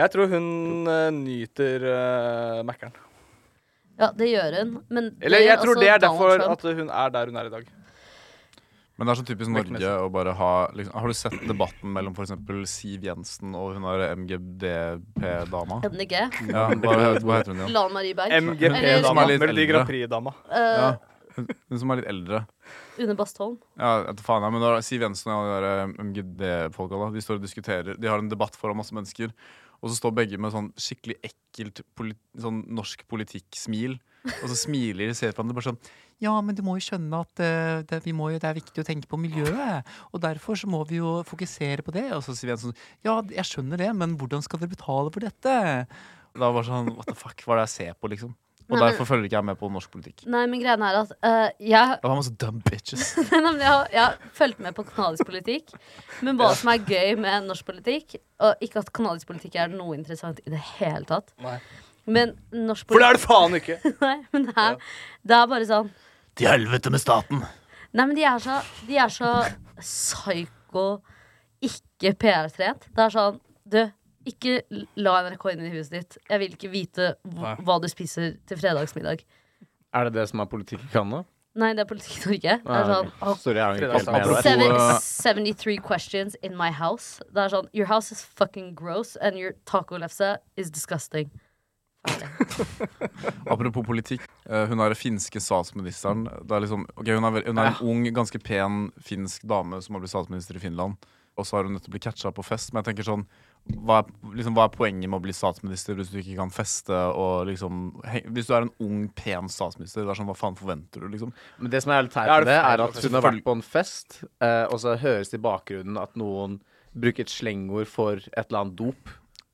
[SPEAKER 5] Jeg tror hun eh, nyter uh, Mækkern.
[SPEAKER 3] Ja, det gjør hun. Men det
[SPEAKER 5] Eller
[SPEAKER 3] gjør
[SPEAKER 5] jeg tror
[SPEAKER 3] også
[SPEAKER 5] det er
[SPEAKER 3] Donald
[SPEAKER 5] derfor
[SPEAKER 3] Trump.
[SPEAKER 5] at hun er der hun er i dag.
[SPEAKER 2] Men det er så typisk Norge
[SPEAKER 5] Vektmessig.
[SPEAKER 2] å bare ha liksom, Har du sett debatten mellom f.eks. Siv Jensen og hun der MGDP-dama?
[SPEAKER 3] MDG.
[SPEAKER 2] Ja, hva, hva heter hun igjen?
[SPEAKER 3] Lan Marie Berg. Eller-
[SPEAKER 5] MGP-dama.
[SPEAKER 2] Som er litt
[SPEAKER 5] Melodi
[SPEAKER 2] eldre.
[SPEAKER 5] Grand Prix-dama.
[SPEAKER 3] eh,
[SPEAKER 2] Ja. Hun som er litt eldre.
[SPEAKER 3] Une Bastholm.
[SPEAKER 2] Ja, jeg vet faen jeg, men da er Siv Jensen og de der eh, MGD-folka da De står og diskuterer. De har en debatt foran masse mennesker. Og så står begge med sånn skikkelig ekkelt polit, sånn norsk politikk-smil. Og så smiler de ser på hverandre bare sånn Ja, men du må jo skjønne at eh, det, vi må jo, det er viktig å tenke på miljøet. Og derfor så må vi jo fokusere på det. Og så Siv Jensen Ja, jeg skjønner det, men hvordan skal dere betale for dette? Og da var det sånn What the fuck, hva er det jeg ser på, liksom? Og
[SPEAKER 3] Nei, men-
[SPEAKER 2] derfor følger ikke jeg med på norsk politikk.
[SPEAKER 3] Nei, men greia er at eh, jeg,
[SPEAKER 2] Det var masse dumb bitches.
[SPEAKER 3] nemlig, jeg, har- jeg har fulgt med på kanadisk politikk. Men hva som er gøy med norsk politikk Og ikke at kanadisk politikk er noe interessant i det hele tatt.
[SPEAKER 5] Nei.
[SPEAKER 3] Men norsk
[SPEAKER 5] For det
[SPEAKER 3] politikk
[SPEAKER 5] er det faen ikke!
[SPEAKER 3] Nei, men det er, det er bare sånn
[SPEAKER 2] Til helvete med staten!
[SPEAKER 3] Nei, men de er så, de er så psyko, ikke PR-trent. Det er sånn Du, ikke la NRK inn i huset ditt. Jeg vil ikke vite hva, hva du spiser til fredagsmiddag.
[SPEAKER 6] Er det det som er politikk i Canada?
[SPEAKER 3] Nei, det er politikk i Norge. Det
[SPEAKER 6] Ah,
[SPEAKER 3] er sånn
[SPEAKER 6] ok. Sorry, jeg har ikke helt med
[SPEAKER 5] Fredagsdag.
[SPEAKER 6] der.
[SPEAKER 3] Seven,
[SPEAKER 2] Apropos,
[SPEAKER 3] 73 questions in my house. Det er sånn Your house is fucking gross, and your tacolefse is disgusting. Ferdig.
[SPEAKER 2] Apropos politikk. eh, Hun er den finske statsministeren. Det er liksom, ok, hun, er, vel- hun er en ung, ganske pen finsk dame som har blitt statsminister i Finland. Og så har hun nettopp blitt catcha på fest. Men jeg tenker sånn hva er, liksom, hva er poenget med å bli statsminister hvis du ikke kan feste? Og liksom, he- hvis du er en ung, pen statsminister, det er sånn, hva faen forventer du? liksom?
[SPEAKER 6] Men det som er litt teit
[SPEAKER 5] Ja, er det
[SPEAKER 6] med det, er
[SPEAKER 5] feil
[SPEAKER 6] at hun har vært på en fest, eh, og så høres det i bakgrunnen at noen bruker et slengord for et eller annet dop.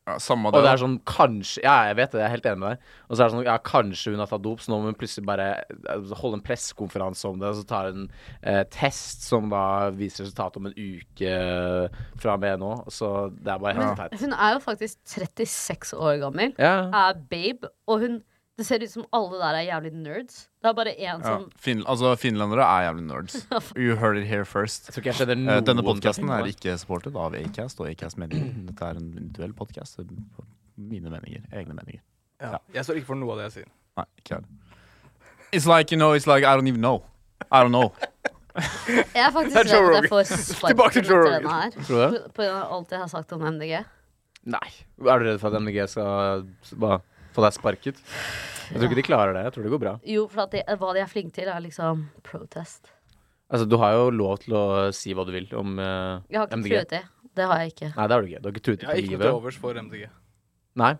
[SPEAKER 2] Ja, samme
[SPEAKER 6] Og det
[SPEAKER 2] det.
[SPEAKER 6] er sånn kanskje Ja, jeg vet det, jeg er helt enig med deg. Og så er det sånn Ja, kanskje hun har tatt dop, så nå må hun plutselig bare eh, holde en pressekonferanse om det, og så tar hun en eh, test som da viser resultatet om en uke eh, fra og med nå. Så det er bare helt teit.
[SPEAKER 3] Hun er jo faktisk 36 år gammel.
[SPEAKER 6] Ja.
[SPEAKER 3] er babe, og hun Det ser ut som alle der er jævlig nerds. Det er bare én
[SPEAKER 2] Ja.
[SPEAKER 6] sånn
[SPEAKER 3] som
[SPEAKER 2] Fin, altså, finlendere er jævlig nerds. You heard it here first.
[SPEAKER 6] Jeg tror ikke jeg skjønner
[SPEAKER 2] Eh,
[SPEAKER 6] noen
[SPEAKER 2] Denne podkasten
[SPEAKER 6] ting.
[SPEAKER 2] er ikke supportet av Acast og Acast Meninger. Dette er en individuell podkast. Mine meninger. Egne meninger.
[SPEAKER 5] Ja. Jeg står ikke for noe av det jeg sier.
[SPEAKER 2] Nei, ikke jeg. It's like, you know, it's like I don't even know. I don't know.
[SPEAKER 3] Jeg er faktisk
[SPEAKER 5] Det er Joe
[SPEAKER 3] redd at jeg
[SPEAKER 5] Rogan.
[SPEAKER 3] får sparken
[SPEAKER 5] Tilbake til Joe
[SPEAKER 3] etter denne
[SPEAKER 5] Rogan.
[SPEAKER 3] her.
[SPEAKER 6] Tror du det?
[SPEAKER 3] På- På grunn av alt jeg har sagt om MDG.
[SPEAKER 6] Nei. Er du redd for at MDG skal s- bare få deg sparket? Jeg tror ikke de klarer det. Jeg tror det går bra.
[SPEAKER 3] Jo, for at de, hva de er flinke til, er liksom protest.
[SPEAKER 6] Altså, du har jo lov til å si hva du vil om eh,
[SPEAKER 3] Jeg har ikke
[SPEAKER 6] MDG.
[SPEAKER 3] truet det. Det har jeg ikke.
[SPEAKER 6] Nei, det har du ikke. Du har ikke
[SPEAKER 5] Jeg
[SPEAKER 6] truet dem
[SPEAKER 5] har
[SPEAKER 6] på
[SPEAKER 5] ikke noe til
[SPEAKER 6] livet.
[SPEAKER 5] overs for MDG.
[SPEAKER 6] Nei.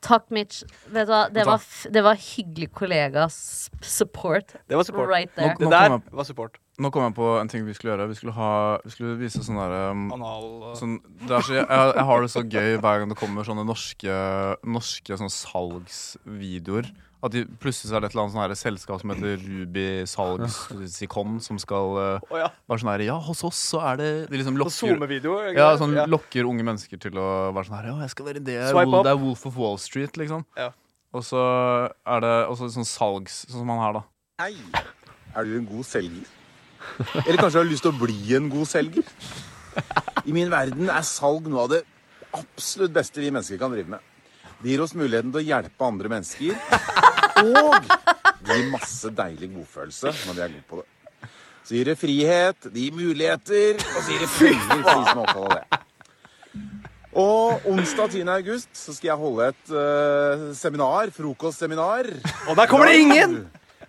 [SPEAKER 3] Takk, Mitch. Vet du hva, det var, f- det var hyggelig kollegas support
[SPEAKER 5] Det var support.
[SPEAKER 3] right there.
[SPEAKER 2] Nå
[SPEAKER 5] Det
[SPEAKER 2] kom
[SPEAKER 5] der
[SPEAKER 2] jeg
[SPEAKER 5] var support.
[SPEAKER 2] Nå kom jeg på en ting vi skulle gjøre. Vi skulle, ha, vi skulle vise sånn derre um,
[SPEAKER 5] Anal og
[SPEAKER 2] sånn, det er så, jeg, jeg har det så gøy hver gang det kommer sånne norske, norske sånne salgsvideoer. At de, plutselig så er det et eller annet sånn her selskap som heter Ruby Salgsikon, som skal eh,
[SPEAKER 5] Å ja.
[SPEAKER 2] være sånn her Ja, hos oss så er det De liksom
[SPEAKER 5] Og
[SPEAKER 2] lokker
[SPEAKER 5] SoMe-video.
[SPEAKER 2] Ja, sånn lokker unge mennesker til å være sånn her Ja, jeg skal være det.
[SPEAKER 5] Swipe
[SPEAKER 2] Wolf,
[SPEAKER 5] up.
[SPEAKER 2] det er Wolf of Wall Street, liksom.
[SPEAKER 5] Ja.
[SPEAKER 2] Og så er det også sånn salgs... Sånn som han her, da.
[SPEAKER 9] Hei, er du en god selger? Eller kanskje du har lyst til å bli en god selger? I min verden er salg noe av det absolutt beste vi mennesker kan drive med. Det gir oss muligheten til å hjelpe andre mennesker, og det gir masse deilig godfølelse når vi er gode på det. Så gir det frihet, det gir muligheter, og så gir det penger for de som er opptatt av det. Og onsdag 10. august så skal jeg holde et eh, seminar, frokostseminar.
[SPEAKER 5] Og der kommer det ingen!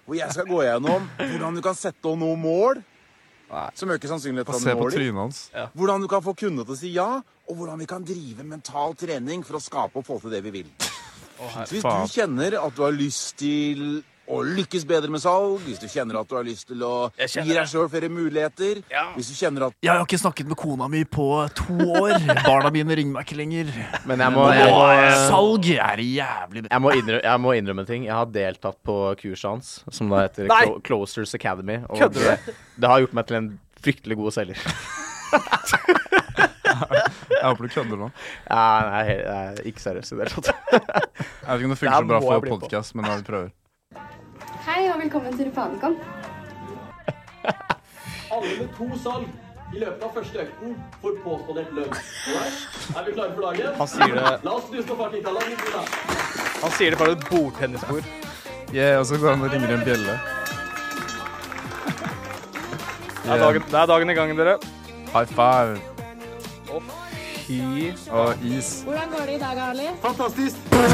[SPEAKER 9] Hvor jeg skal gå gjennom hvordan du kan sette opp noen mål som øker sannsynligheten
[SPEAKER 2] Bare
[SPEAKER 9] for
[SPEAKER 2] se
[SPEAKER 9] å
[SPEAKER 2] på
[SPEAKER 9] nå dem.
[SPEAKER 2] trynet hans.
[SPEAKER 9] Hvordan du kan få kundene til å si ja, og hvordan vi kan drive mental trening for å skape og få til det vi vil. Så hvis du kjenner at du har lyst til og lykkes bedre med salg, hvis du kjenner at du har lyst til å
[SPEAKER 5] Jeg
[SPEAKER 9] gi
[SPEAKER 5] kjenner
[SPEAKER 9] deg
[SPEAKER 5] det.
[SPEAKER 9] sjøl flere muligheter,
[SPEAKER 5] Ja.
[SPEAKER 9] hvis du kjenner at
[SPEAKER 2] Jeg har ikke snakket med kona mi på to år. Barna mine ringer meg ikke lenger.
[SPEAKER 6] Men jeg må, jeg må, eh,
[SPEAKER 2] Salg er jævlig
[SPEAKER 6] jeg må, innrømme, jeg må innrømme en ting. Jeg har deltatt på kurset hans, som da heter
[SPEAKER 5] Nei!
[SPEAKER 6] Clo Closers Academy. og
[SPEAKER 5] Kødder du?
[SPEAKER 6] det- Det har gjort meg til en fryktelig god selger.
[SPEAKER 2] Jeg håper du kødder nå.
[SPEAKER 6] Ja, nei, he- nei, ikke seriøst i det hele tatt.
[SPEAKER 2] Jeg vet ikke om det
[SPEAKER 6] Det her
[SPEAKER 2] funker så bra
[SPEAKER 6] må jeg
[SPEAKER 2] for
[SPEAKER 6] bli på.
[SPEAKER 2] podkast, men ja, vi prøver.
[SPEAKER 10] Hei og velkommen til Fanekom.
[SPEAKER 11] Alle med to salg i løpet av første økten får påspandert lønn. Alright? Er vi klare for dagen?
[SPEAKER 5] Han sier det,
[SPEAKER 11] La oss snuse på fartitallene.
[SPEAKER 5] han sier det fra et bordtennisbord.
[SPEAKER 2] Yeah, og så går han og ringer en bjelle.
[SPEAKER 5] Det er dagen, det er dagen i gangen, dere.
[SPEAKER 2] High five
[SPEAKER 5] Fy
[SPEAKER 2] og is.
[SPEAKER 10] Hvordan går det i dag, Ali?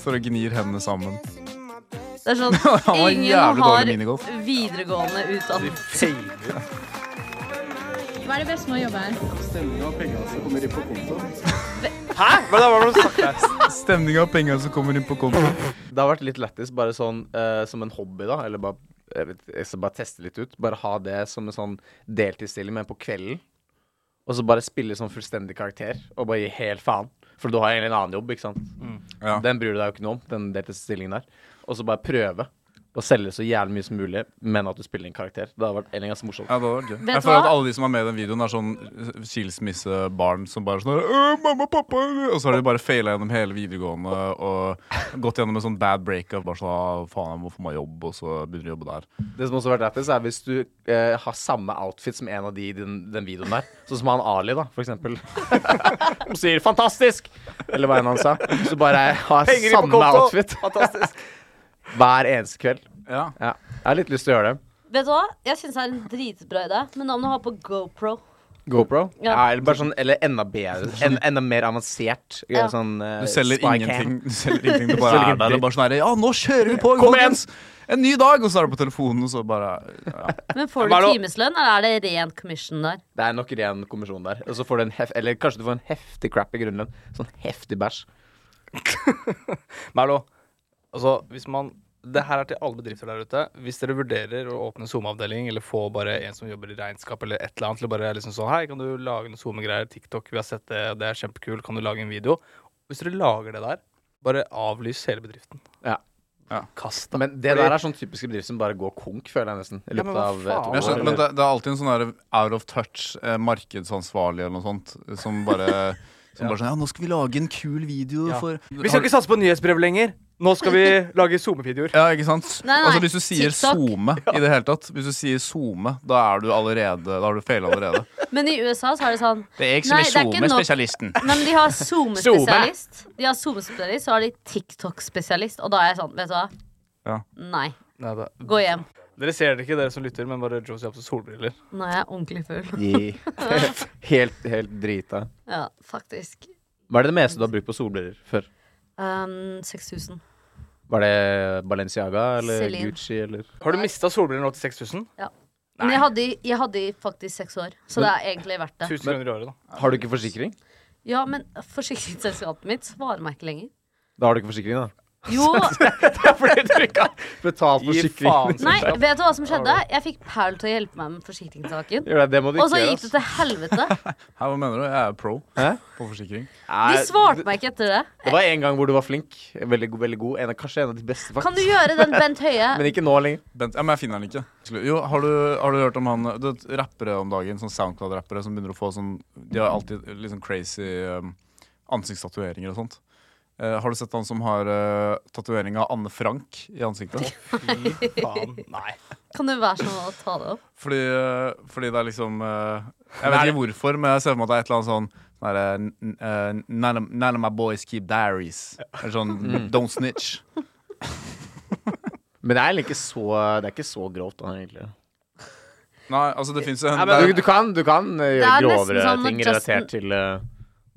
[SPEAKER 2] Står og gnir hendene sammen.
[SPEAKER 3] Det er sånn
[SPEAKER 2] var jævlig
[SPEAKER 3] Ingen
[SPEAKER 2] dårlig
[SPEAKER 3] har
[SPEAKER 2] minigolf.
[SPEAKER 3] videregående utdannelse.
[SPEAKER 5] feiler.
[SPEAKER 10] Hva er det beste med å jobbe her?
[SPEAKER 5] Hæ? Hva er det du har sagt der?
[SPEAKER 2] Stemning av penger som kommer inn på kontoen.
[SPEAKER 6] Det har vært litt lættis, bare sånn eh, som en hobby, da. Eller bare, jeg vet, jeg skal bare teste litt ut. Bare ha det som en sånn deltidsstilling, men på kvelden. Og så bare spille sånn fullstendig karakter, og bare gi helt faen. For du har egentlig en annen jobb, ikke sant.
[SPEAKER 2] Ja.
[SPEAKER 6] Den bryr du deg jo ikke noe om, den deltidsstillingen der. Og så bare prøve å selge så jævlig mye som mulig, men at du spiller en karakter. Det har vært egentlig ganske morsomt.
[SPEAKER 2] Ja, det var gøy.
[SPEAKER 3] Vet
[SPEAKER 2] Jeg
[SPEAKER 3] du
[SPEAKER 2] føler
[SPEAKER 3] hva?
[SPEAKER 2] at alle de som er med i den videoen, er sånn eh, skilsmissebarn som bare sånn «Øh, mamma, pappa, øh», Og så har de bare faila gjennom hele videregående og gått gjennom en sånn bad breakup. Bare sånn «Ah, faen, jeg må få meg jobb, og så begynner de å jobbe der.
[SPEAKER 6] Det som også har vært lættis, er hvis du eh, har samme outfit som en av de i den, den videoen der. Sånn som han Ali, da, for eksempel. Som sier 'fantastisk', eller hva enn han sa. Så bare har
[SPEAKER 5] Penger i på
[SPEAKER 6] samme
[SPEAKER 5] konto.
[SPEAKER 6] outfit
[SPEAKER 5] Fantastisk.
[SPEAKER 6] hver eneste kveld.
[SPEAKER 2] Ja.
[SPEAKER 6] Ja. Jeg har litt lyst til å gjøre det.
[SPEAKER 3] Vet du hva? Jeg syns det er en dritbra idé, men da må du ha på GoPro.
[SPEAKER 6] GoPro?
[SPEAKER 3] Ja.
[SPEAKER 6] Ja. eller bare sånn, eller enda bedre. En, enda mer avansert.
[SPEAKER 3] Ja.
[SPEAKER 6] Sånn, eh,
[SPEAKER 2] Du selger
[SPEAKER 6] spy cam.
[SPEAKER 2] ingenting. Du selger ingenting. Du bare
[SPEAKER 6] Selger
[SPEAKER 2] er der og bare sånn her, Ja, nå kjører vi på,
[SPEAKER 6] Kom igjen!»
[SPEAKER 2] folkens! En ny dag! Og så er du på telefonen, og så bare ja.
[SPEAKER 3] Men får du
[SPEAKER 5] Hva er det-
[SPEAKER 3] timeslønn, eller er det ren commission der?
[SPEAKER 6] Det er nok ren kommisjon der. Og så får du en hef Eller kanskje du får en heftig crap i grunnlønn. Sånn heftig bæsj.
[SPEAKER 5] Merlo, altså, hvis man det her er til alle bedrifter der ute. Hvis dere vurderer å åpne SoMe-avdeling, eller få bare en som jobber i regnskap, eller et eller annet, til å bare liksom sånn Hei, kan du lage noen SoMe-greier? TikTok, vi har sett det, det er kjempekult. Kan du lage en video? Hvis dere lager det der, bare avlys hele bedriften.
[SPEAKER 6] Ja.
[SPEAKER 2] Ja.
[SPEAKER 5] Kast det.
[SPEAKER 6] Men det der er sånn typisk bedrift som bare går konk, føler jeg nesten. I
[SPEAKER 5] Ja, men
[SPEAKER 6] løpet
[SPEAKER 5] hva
[SPEAKER 6] av et
[SPEAKER 5] faen?
[SPEAKER 6] år.
[SPEAKER 2] Jeg skjønner, men det, det er alltid en sånn der out of touch eh, markedsansvarlig eller noe sånt, som bare som bare sånn, ja, nå skal vi lage en kul video
[SPEAKER 5] Ja.
[SPEAKER 2] for
[SPEAKER 5] Vi skal ikke satse på nyhetsbrev lenger. Nå skal vi lage SoMe-videoer.
[SPEAKER 2] Ja, ikke sant?
[SPEAKER 3] Nei, nei,
[SPEAKER 2] altså Hvis du sier
[SPEAKER 3] TikTok.
[SPEAKER 2] SoMe i det hele tatt, hvis du sier SoMe, da er du allerede Da har du feila allerede.
[SPEAKER 3] Men i USA så er det sånn
[SPEAKER 2] Det er
[SPEAKER 3] jeg som Nei, er det er ikke nok.
[SPEAKER 2] SoMe-spesialisten.
[SPEAKER 3] Nei, men de har SoMe-spesialist. De har SoMe-spesialist, så har de TikTok-spesialist. Og da er jeg sånn, vet du hva?
[SPEAKER 2] Ja.
[SPEAKER 3] Nei.
[SPEAKER 5] Nei, det.
[SPEAKER 3] Gå hjem.
[SPEAKER 5] Dere ser det ikke, dere som lytter, men bare Josie har på seg solbriller.
[SPEAKER 3] Nå er jeg ordentlig full.
[SPEAKER 6] I- helt, helt drita.
[SPEAKER 3] Ja, faktisk.
[SPEAKER 6] Hva er det meste du har brukt på solbriller før?
[SPEAKER 3] Um, 6000.
[SPEAKER 6] Var det Balenciaga eller
[SPEAKER 3] Celine.
[SPEAKER 6] Gucci eller
[SPEAKER 5] Har du mista solbriller nå til 6000?
[SPEAKER 3] Men jeg hadde, i- jeg hadde i faktisk seks år, så det er egentlig verdt det.
[SPEAKER 5] 1000 kroner i året, da.
[SPEAKER 6] Har du ikke forsikring?
[SPEAKER 3] Ja, men forsikringsselskapet mitt svarer meg ikke lenger.
[SPEAKER 6] Da har du ikke forsikring, da.
[SPEAKER 3] Jo,
[SPEAKER 5] Fordi du ikke har
[SPEAKER 6] Betalt
[SPEAKER 5] Gi faen.
[SPEAKER 6] forsikring.
[SPEAKER 3] nei, vet du hva som skjedde? Jeg fikk Paul til å hjelpe meg med forsikringssaken.
[SPEAKER 6] Gjør det, det må du
[SPEAKER 3] Og
[SPEAKER 6] ikke
[SPEAKER 3] så
[SPEAKER 6] gjøre.
[SPEAKER 3] gikk det til helvete.
[SPEAKER 2] Hæ, hva mener du? Jeg er pro
[SPEAKER 6] Hæ?
[SPEAKER 2] på forsikring.
[SPEAKER 3] De
[SPEAKER 6] ass.
[SPEAKER 3] svarte meg ikke etter det.
[SPEAKER 6] Nei, Det var en gang hvor du var flink. Veldig, god- veldig god. En av, kanskje en av de beste,
[SPEAKER 3] Kan du
[SPEAKER 6] faktisk.
[SPEAKER 3] gjøre den Bent Høie?
[SPEAKER 6] Men ikke nå lenger.
[SPEAKER 2] Bent, ja, men jeg finner den ikke. Skulle- Jo, har du, har du hørt om han Du vet, rappere om dagen, sånn SoundCloud-rappere som begynner å få sånn De har alltid litt sånn crazy um, ansiktstatueringer og sånt. Eh, har du sett han som har uh, tatovering av Anne Frank i ansiktet?
[SPEAKER 5] Fy faen. Nei.
[SPEAKER 3] Kan du være sånn å ta det opp?
[SPEAKER 2] Fordi, øh, fordi det er liksom øh, Jeg vet ikke hvorfor, men jeg ser for meg at det er et eller annet sånn sånn derre, n- øh, none, of- none of my boys keep diaries. Eller sånn
[SPEAKER 6] Mm.
[SPEAKER 2] Don't snitch.
[SPEAKER 6] Men det er egentlig ikke så, det er ikke så grovt. Da, egentlig.
[SPEAKER 2] Nei, altså det fins jo en
[SPEAKER 6] Nei, men du, du kan, du kan eh,
[SPEAKER 3] Det
[SPEAKER 6] gjøre
[SPEAKER 3] er nesten
[SPEAKER 6] grovere
[SPEAKER 3] sånn
[SPEAKER 6] ting
[SPEAKER 3] at Justin-
[SPEAKER 6] relatert til eh,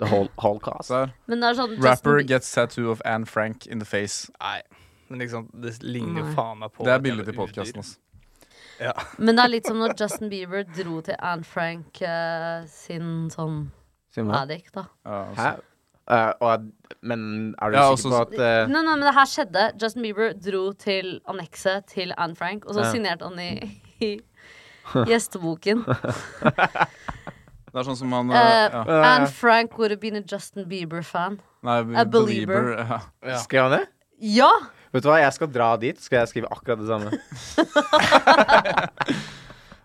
[SPEAKER 6] the whole, holocaust.
[SPEAKER 2] der.
[SPEAKER 3] Men det er sånn
[SPEAKER 2] Rapper
[SPEAKER 3] Justin-
[SPEAKER 2] gets tattoo of Anne Frank in the face.
[SPEAKER 5] Nei. Men liksom, det ligner jo
[SPEAKER 3] Nei.
[SPEAKER 5] faen meg på
[SPEAKER 2] Det er
[SPEAKER 5] et
[SPEAKER 2] bildet til
[SPEAKER 5] jævla
[SPEAKER 2] podkasten.
[SPEAKER 5] udyr.
[SPEAKER 2] Altså.
[SPEAKER 3] Men det er litt som når Justin Bieber dro til Anne Frank eh, sin sånn
[SPEAKER 6] Sier man det?
[SPEAKER 3] addict, da.
[SPEAKER 2] Ja, altså.
[SPEAKER 6] Hæ? Eh, og, jeg- men er du
[SPEAKER 2] Ja,
[SPEAKER 6] sikker
[SPEAKER 2] også-
[SPEAKER 6] på at eh,
[SPEAKER 3] Nei, nei, men det her skjedde. Justin Bieber dro til annekset til Anne Frank, og så signerte han i, i gjesteboken.
[SPEAKER 2] Det er sånn som han
[SPEAKER 3] Eh,
[SPEAKER 2] eh, ja.
[SPEAKER 3] Anne Frank would have been a Justin Bieber-fan.
[SPEAKER 2] Nei,
[SPEAKER 3] a believer.
[SPEAKER 2] ja.
[SPEAKER 6] Skrev han det?
[SPEAKER 3] Ja!
[SPEAKER 6] Vet du hva, jeg skal dra dit. Skal jeg skrive akkurat det samme?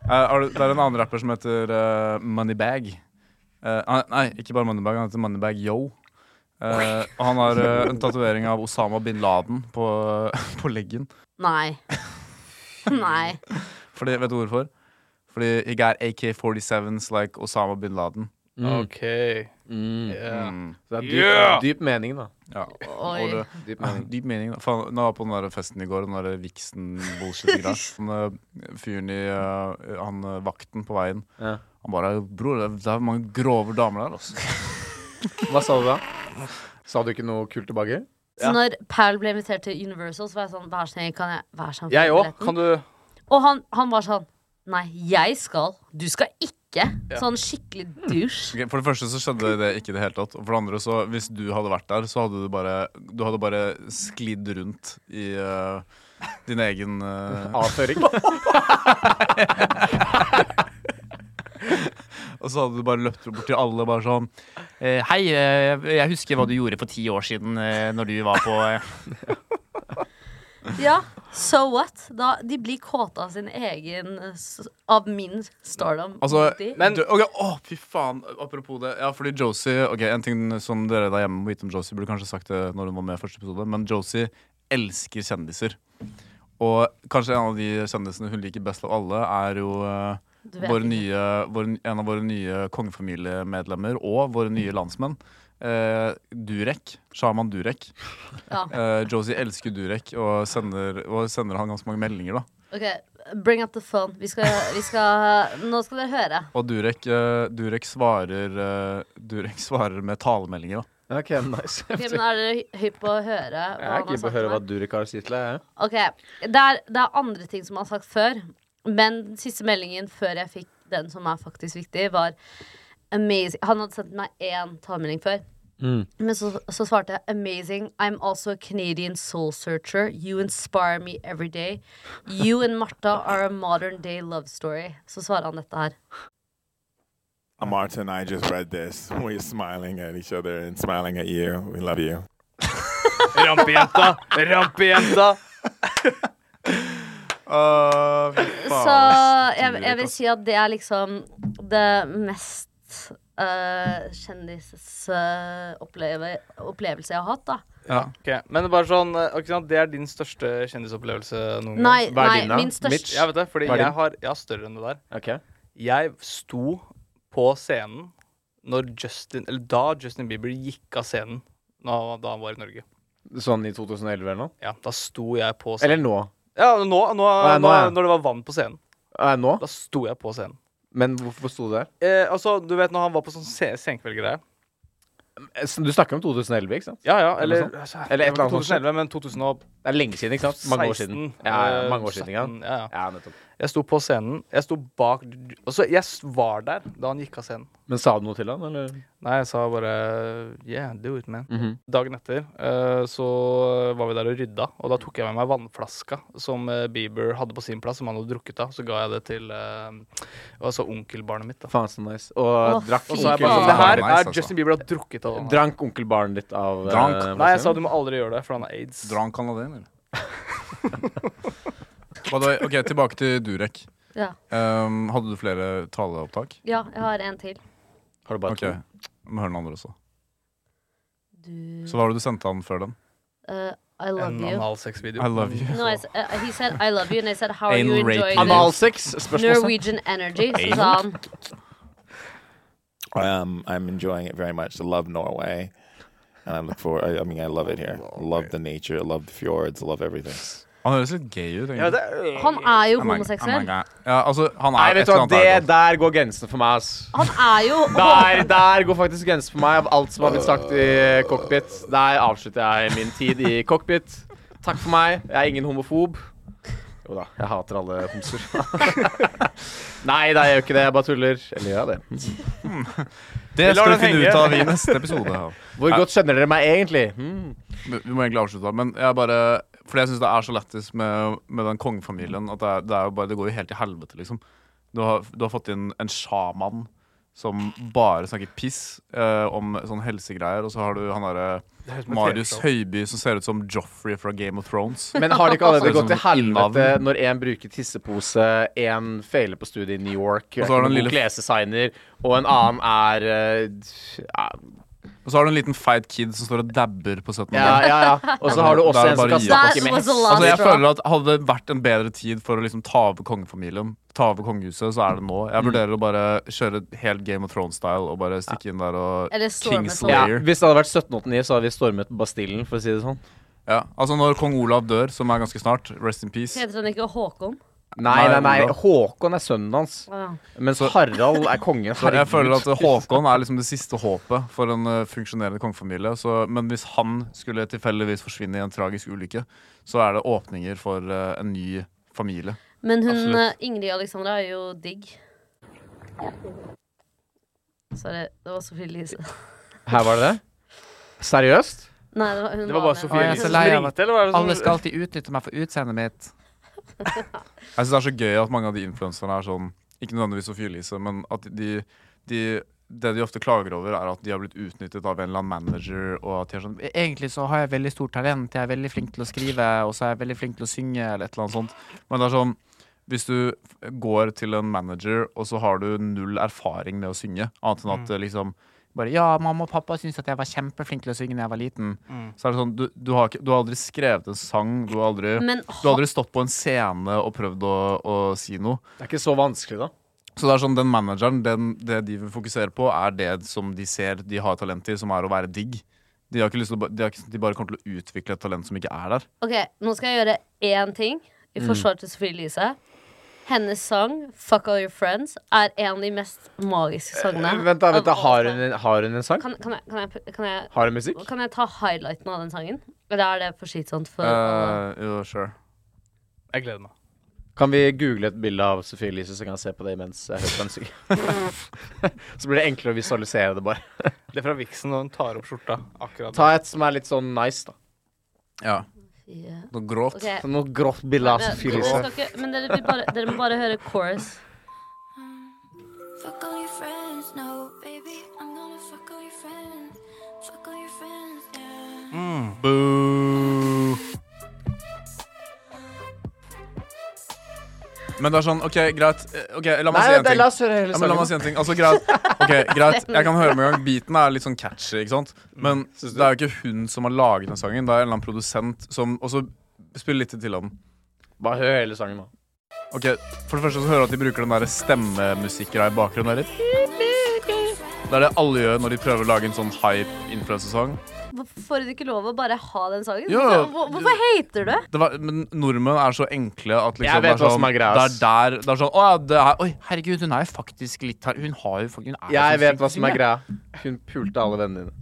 [SPEAKER 2] Eh, har du- det er en annen rapper som heter eh, Moneybag. Eh, han- nei, ikke bare Moneybag, han heter Moneybag Yo. Eh, og han har eh, en tatovering av Osama bin Laden på, på leggen.
[SPEAKER 3] Nei. Nei.
[SPEAKER 2] Fordi, vet du hvorfor? Fordi he got AK-47s like Osama bin Laden.
[SPEAKER 6] Mm,
[SPEAKER 5] OK. Yeah.
[SPEAKER 2] Mm.
[SPEAKER 6] Så det er dyp,
[SPEAKER 5] Yeah!
[SPEAKER 6] dyp mening, da.
[SPEAKER 2] Ja.
[SPEAKER 3] Oi.
[SPEAKER 2] Og det,
[SPEAKER 6] Dyp mening.
[SPEAKER 2] Dyp mening, da. Faen, når jeg var på den der festen i går, den der Vixen-bullshit-greia Han eh, fyren i eh, Han eh, vakten på veien,
[SPEAKER 6] Ja.
[SPEAKER 2] han bare 'Bror, det er- det er mange grove damer der', altså.
[SPEAKER 6] Hva sa du da? Sa du ikke noe kult tilbake?
[SPEAKER 3] Så når Paul ble invitert til Universal, så var jeg sånn Vær så snill, kan jeg Vær så snill,
[SPEAKER 5] Jeg
[SPEAKER 3] få
[SPEAKER 5] òg.
[SPEAKER 3] billetten?»
[SPEAKER 5] Kan du
[SPEAKER 3] Og han, han var sånn Nei, jeg skal. Du skal ikke. Sånn skikkelig douche.
[SPEAKER 2] Ok, for det første så skjedde det ikke i det hele tatt. Og for det andre, så hvis du hadde vært der, så hadde du bare Du hadde bare sklidd rundt i eh, din egen eh,
[SPEAKER 6] Avføring?
[SPEAKER 2] Og så hadde du bare løpt bort til alle bare sånn eh, Hei, eh, jeg husker hva du gjorde for ti år siden eh, når du var på
[SPEAKER 3] Ja, so what? Da, de blir kåte av sin egen s- Av min stardom.
[SPEAKER 2] Altså,
[SPEAKER 3] De-
[SPEAKER 5] Men-
[SPEAKER 2] du, ok, å, fy faen, apropos det. Ja, fordi Josie ok, En ting som dere der hjemme må vite om Josie, burde kanskje sagt det når hun var med i første episode, men Josie elsker kjendiser. Og kanskje en av de kjendisene hun liker best av alle, er jo eh,
[SPEAKER 3] du vet
[SPEAKER 2] vår
[SPEAKER 3] ikke.
[SPEAKER 2] nye, vår, en av våre nye kongefamiliemedlemmer og våre
[SPEAKER 3] Mm.
[SPEAKER 2] nye landsmenn. Eh, Durek. Shaman Durek.
[SPEAKER 3] Ja.
[SPEAKER 2] Eh, Josie elsker Durek og sender, og sender han ganske mange meldinger. da
[SPEAKER 3] Ok, bring up the phone. Vi skal, vi skal Nå skal dere høre.
[SPEAKER 2] Og Durek, eh, Durek, svarer, eh, Durek svarer med talemeldinger. da
[SPEAKER 6] OK, nice.
[SPEAKER 3] Ok, men Er dere hypp på å høre hva
[SPEAKER 6] Jeg er
[SPEAKER 3] han har
[SPEAKER 6] keen på å
[SPEAKER 3] sagt?
[SPEAKER 6] høre hva
[SPEAKER 3] til meg?
[SPEAKER 6] Durek har å si til deg. jeg.
[SPEAKER 3] Ok, det er, det er andre ting som han har sagt før, men den siste meldingen før jeg fikk den som er faktisk viktig, var amazing. Han hadde sendt meg én talemelding før. Men så, så svarte jeg Amazing, I'm also a Canadian soul searcher You inspire me every day You and Martha are a modern day love story Så svarer han dette her
[SPEAKER 4] Marta and Uh, I just read this. We're smiling at each other and smiling at you. We love you.
[SPEAKER 5] Rampejenta! Rampejenta!
[SPEAKER 3] Så jeg, jeg vil si at det er liksom det mest uh, kjendisopplevelse jeg har hatt, da.
[SPEAKER 5] Ok, Men det er bare sånn eh, ikke sant, Det er din største kjendisopplevelse noen
[SPEAKER 3] Nei,
[SPEAKER 6] Hva er
[SPEAKER 3] nei
[SPEAKER 6] din da?
[SPEAKER 3] min
[SPEAKER 6] Mitch?
[SPEAKER 5] gang? Jeg
[SPEAKER 3] største
[SPEAKER 5] vet det, fordi
[SPEAKER 6] Hva er din?
[SPEAKER 5] jeg har, jeg har større enn det der.
[SPEAKER 6] Ok.
[SPEAKER 5] Jeg sto på scenen når Justin, eller da Justin Bieber gikk av scenen da, da han var i Norge.
[SPEAKER 6] Sånn i 2011 eller noe?
[SPEAKER 5] Ja, Da sto jeg på scenen.
[SPEAKER 6] Eller nå?
[SPEAKER 5] Ja, nå, nå, nå,
[SPEAKER 6] ja, nå, ja.
[SPEAKER 5] Når det var vann på scenen.
[SPEAKER 6] Eh, nå?
[SPEAKER 5] Da sto jeg på scenen.
[SPEAKER 6] Men hvorfor sto du der?
[SPEAKER 5] Eh, altså, Du vet når han var på sånn se- senkveldgreie?
[SPEAKER 6] Eh, Du snakker om 2011, ikke sant?
[SPEAKER 5] Ja, ja,
[SPEAKER 6] Eller
[SPEAKER 5] eller
[SPEAKER 6] noe
[SPEAKER 5] altså,
[SPEAKER 6] Eller et
[SPEAKER 5] det var
[SPEAKER 6] eller annet
[SPEAKER 5] ikke 2011, men 2016.
[SPEAKER 6] Det er lenge siden, ikke sant? Mange år siden. Ja, ja, mange
[SPEAKER 5] eh,
[SPEAKER 6] år siden, ja.
[SPEAKER 5] 17, ja, ja.
[SPEAKER 6] Ja, nettopp.
[SPEAKER 5] Jeg sto på scenen. Jeg sto bak Altså, jeg s- var der da han gikk av scenen.
[SPEAKER 6] Men sa du noe til han, eller?
[SPEAKER 5] Nei, jeg sa bare Yeah, do it, man.
[SPEAKER 6] Mhm.
[SPEAKER 5] Dagen etter eh, så var vi der og rydda, og da tok jeg med meg vannflaska som eh, Bieber hadde på sin plass, som han hadde drukket av. Så ga jeg det til eh, altså onkelbarnet mitt. da
[SPEAKER 6] Faen så nice. Og
[SPEAKER 3] Å,
[SPEAKER 6] drakk
[SPEAKER 5] Og så er jeg bare
[SPEAKER 2] Onkel-
[SPEAKER 5] sånn Det her
[SPEAKER 2] Ja, nice,
[SPEAKER 5] er
[SPEAKER 2] altså.
[SPEAKER 5] Justin Bieber har drukket av den her."
[SPEAKER 6] Drank onkelbarnet ditt av eh,
[SPEAKER 2] Drank?
[SPEAKER 5] Nei, jeg sa
[SPEAKER 6] vaksinen?
[SPEAKER 5] du må aldri gjøre det, for han har aids.
[SPEAKER 2] Drar han canadier, eller? By the way, ok, tilbake til Durek.
[SPEAKER 3] ja,
[SPEAKER 2] Um, hadde du flere taleopptak?
[SPEAKER 3] ja, jeg har en til.
[SPEAKER 6] Har du bare
[SPEAKER 2] Ok, Må høre den andre også.
[SPEAKER 3] Du
[SPEAKER 2] Så hva var det du sendte han før den?
[SPEAKER 3] eh, I
[SPEAKER 5] En
[SPEAKER 3] love you.
[SPEAKER 5] analsexvideo.
[SPEAKER 2] I love you.
[SPEAKER 3] No, I, s- eh, he said I love you, and I said how are you
[SPEAKER 2] Anal rape.
[SPEAKER 3] enjoying
[SPEAKER 6] to?
[SPEAKER 3] this
[SPEAKER 6] Analsex? Spørsmålstegn.
[SPEAKER 3] Norwegian energy? Så sa han
[SPEAKER 4] Um, I'm enjoying it very much. I love Norway. And I look forward, I, I mean, I love it here. I love the nature. I love the fjords. I love everything.
[SPEAKER 2] Han høres litt gay ut, egentlig.
[SPEAKER 5] Ja, det er,
[SPEAKER 3] Han er jo
[SPEAKER 2] Oh my- oh my
[SPEAKER 3] homoseksuell.
[SPEAKER 2] god. Ja, altså, han er
[SPEAKER 6] Nei, vet
[SPEAKER 2] et
[SPEAKER 6] du
[SPEAKER 2] eller
[SPEAKER 6] hva,
[SPEAKER 2] annet der,
[SPEAKER 6] det
[SPEAKER 2] da.
[SPEAKER 6] der går grensen for meg, ass.
[SPEAKER 3] Han er jo
[SPEAKER 6] Der, der går faktisk grensen for meg av alt som har blitt sagt i eh, cockpit. Der avslutter jeg min tid i cockpit. Takk for meg. Jeg er ingen homofob. Jo da, jeg hater alle homser. Nei da, jeg gjør ikke det. Jeg bare tuller. Eller gjør jeg det?
[SPEAKER 2] Det
[SPEAKER 5] Vi lar
[SPEAKER 2] skal vi
[SPEAKER 5] den
[SPEAKER 2] finne
[SPEAKER 5] henge.
[SPEAKER 2] ut av i neste episode.
[SPEAKER 6] Hvor godt kjenner dere meg egentlig? Hmm.
[SPEAKER 2] Vi vi må egentlig avslutte, men jeg bare Fordi jeg syns det er så lættis med, med den kongefamilien at det, er, det, er jo bare, det går jo helt til helvete, liksom. Du har, du har fått inn en sjaman som bare snakker piss eh, om sånn helsegreier, og så har du han derre
[SPEAKER 5] høres ut som et
[SPEAKER 2] Marius
[SPEAKER 5] TV-show.
[SPEAKER 2] Høiby som ser ut som Joffrey fra Game of Thrones.
[SPEAKER 6] Men har det ikke allerede
[SPEAKER 2] Sånn
[SPEAKER 6] gått til
[SPEAKER 2] som
[SPEAKER 6] helvete
[SPEAKER 2] innavn.
[SPEAKER 6] når én bruker tissepose, én feiler på studiet i New York,
[SPEAKER 2] Og så har du
[SPEAKER 6] en
[SPEAKER 2] den
[SPEAKER 6] god
[SPEAKER 2] lille-
[SPEAKER 6] klesdesigner, og en annen er eh, ja,
[SPEAKER 2] Og så har du en liten feit kid som står og dabber på 17 år.
[SPEAKER 6] ja, ja, ja. Og så har du
[SPEAKER 2] Da er
[SPEAKER 6] også
[SPEAKER 2] det
[SPEAKER 6] en som
[SPEAKER 2] bare
[SPEAKER 6] kan
[SPEAKER 2] å gi opp,
[SPEAKER 6] snakke
[SPEAKER 3] That
[SPEAKER 6] med
[SPEAKER 3] was a
[SPEAKER 6] hest.
[SPEAKER 3] lot
[SPEAKER 2] Altså, jeg
[SPEAKER 3] straw.
[SPEAKER 2] føler at Hadde det vært en bedre tid for å liksom ta over kongefamilien, ta over kongehuset, så er det nå. Jeg vurderer å bare kjøre helt Game of Thrones-style og bare stikke inn der og
[SPEAKER 3] Eller storme sånn.
[SPEAKER 6] Ja,
[SPEAKER 2] Kingslayer. Ja.
[SPEAKER 6] hvis det hadde vært 1789, så hadde vi stormet Bastillen, for å si det sånn.
[SPEAKER 2] Altså, når kong Olav dør, som er ganske snart, rest in peace
[SPEAKER 3] Heter han ikke Håkon?
[SPEAKER 6] Nei, nei,
[SPEAKER 2] Nei,
[SPEAKER 6] nei.
[SPEAKER 2] Olav.
[SPEAKER 6] Håkon er sønnen hans,
[SPEAKER 3] Ah.
[SPEAKER 6] mens Harald er kongen.
[SPEAKER 2] Jeg føler at
[SPEAKER 6] Herregud.
[SPEAKER 2] Håkon er liksom det siste håpet for en eh, funksjonerende kongefamilie. Så, men hvis han skulle tilfeldigvis forsvinne i en tragisk ulykke, så er det åpninger for eh, en ny familie.
[SPEAKER 3] Men hun
[SPEAKER 2] Absolutt.
[SPEAKER 3] eh, Ingrid Alexandra er jo digg. Sorry, det var Sophie Elise.
[SPEAKER 6] Her var det det? Seriøst?
[SPEAKER 3] Nei, det var, hun
[SPEAKER 5] Det var bare
[SPEAKER 3] med.
[SPEAKER 5] Sofie
[SPEAKER 2] jeg er
[SPEAKER 5] Elise
[SPEAKER 2] så
[SPEAKER 5] som
[SPEAKER 2] lei av
[SPEAKER 5] ringte, eller var det sånn?
[SPEAKER 2] alltid utnytte meg for utseendet mitt. Jeg syns det er så gøy at mange av de influenserne er sånn Ikke nødvendigvis Sofie Elise, men at de, de det de ofte klager over, er at de har blitt utnyttet av en eller annen manager. Og at de er sånn Egentlig så har jeg veldig stort talent, jeg er veldig flink til å skrive, og så er jeg veldig flink til å synge, eller et eller annet sånt. Men det er sånn hvis du f- går til en manager, og så har du null erfaring med å synge, annet enn at eh, liksom bare, Ja, mamma og pappa syntes at jeg var kjempeflink til å synge da jeg var liten. Så er det sånn, du, du, har ikke, du har aldri skrevet en sang. Du har aldri,
[SPEAKER 3] Men
[SPEAKER 2] du har aldri stått på en scene og prøvd å, å si noe.
[SPEAKER 6] Det er ikke så vanskelig, da.
[SPEAKER 2] Så det er sånn, den manageren, den, det de vil fokusere på, er det som de ser de har talent til, som er å være digg. De, har ikke lyst til å, ba- de, har ikke, de bare kommer til å utvikle et talent som ikke er der.
[SPEAKER 3] Ok, nå skal jeg gjøre én ting
[SPEAKER 6] Mm.
[SPEAKER 3] i forsvar til Sophie Elise. Hennes sang 'Fuck All Your Friends' er en av de mest magiske sangene.
[SPEAKER 6] Eh, Vent, da.
[SPEAKER 3] av
[SPEAKER 6] vent da
[SPEAKER 3] alle
[SPEAKER 6] har,
[SPEAKER 3] sang.
[SPEAKER 6] hun en, har hun en sang?
[SPEAKER 3] kan, kan, jeg, kan, jeg, kan, jeg,
[SPEAKER 6] Har hun musikk?
[SPEAKER 3] kan jeg ta highlighten av den sangen? Eller er det for slitsomt for alle?
[SPEAKER 2] Eh, jo, sure.
[SPEAKER 5] Jeg gleder meg.
[SPEAKER 6] Kan vi google et bilde av Sophie Elise, så kan jeg se på det imens jeg hører på musikk? så blir det enklere å visualisere det, bare.
[SPEAKER 5] Det er fra Vixen, og hun tar opp skjorta. akkurat
[SPEAKER 6] Ta et som er litt sånn nice, da.
[SPEAKER 2] Ja.
[SPEAKER 3] Ja.
[SPEAKER 2] Noe gråt.
[SPEAKER 3] Ok,
[SPEAKER 6] Sånn noe grått bilde av
[SPEAKER 3] men-
[SPEAKER 6] Sophie
[SPEAKER 3] dere
[SPEAKER 6] Elise.
[SPEAKER 3] skal ikke- Men dere, vil bare, dere må bare høre chorus.
[SPEAKER 10] Fuck all your friends, no, baby. I'm gonna fuck all your friends. Fuck all your friends, yeah.
[SPEAKER 2] Boo. Men det er sånn, ok, greit Eh, Ok, La meg si en
[SPEAKER 6] Nei, vent,
[SPEAKER 2] ting.
[SPEAKER 6] la oss høre hele
[SPEAKER 2] Ja, men la meg si
[SPEAKER 6] sangen.
[SPEAKER 2] en ting. Altså, greit. Ok, greit. Jeg kan høre med en gang. Beaten er litt sånn catchy, ikke sant? Men det er jo ikke hun som har laget den sangen. Det er en eller annen produsent som Og så spiller litt til om den.
[SPEAKER 6] Bare hør hele sangen, da.
[SPEAKER 2] Ok, For det første så hører du at de bruker den der stemmemusikkgreia i bakgrunnen. Der. litt. Det er det alle gjør når de prøver å lage en sånn hype influensesang.
[SPEAKER 3] Hvorfor får du ikke lov å bare ha den sangen? Liksom,
[SPEAKER 2] Ja.
[SPEAKER 3] Hvor- Hvorfor hater du?
[SPEAKER 2] det var, men nordmenn er så enkle at liksom,
[SPEAKER 6] Jeg
[SPEAKER 2] det
[SPEAKER 6] vet
[SPEAKER 2] er
[SPEAKER 6] hva som
[SPEAKER 2] sånn,
[SPEAKER 6] er greia,
[SPEAKER 2] Det er
[SPEAKER 6] ass.
[SPEAKER 2] der det er sånn, å, ja, det er, Oi, herregud, hun er jo faktisk litt her Hun har jo faktisk hun er sånn
[SPEAKER 6] Jeg
[SPEAKER 2] faktisk
[SPEAKER 6] vet
[SPEAKER 2] flink
[SPEAKER 6] hva
[SPEAKER 2] til
[SPEAKER 6] som
[SPEAKER 2] å
[SPEAKER 6] er
[SPEAKER 2] synge.
[SPEAKER 6] greia. Hun pulte alle vennene dine.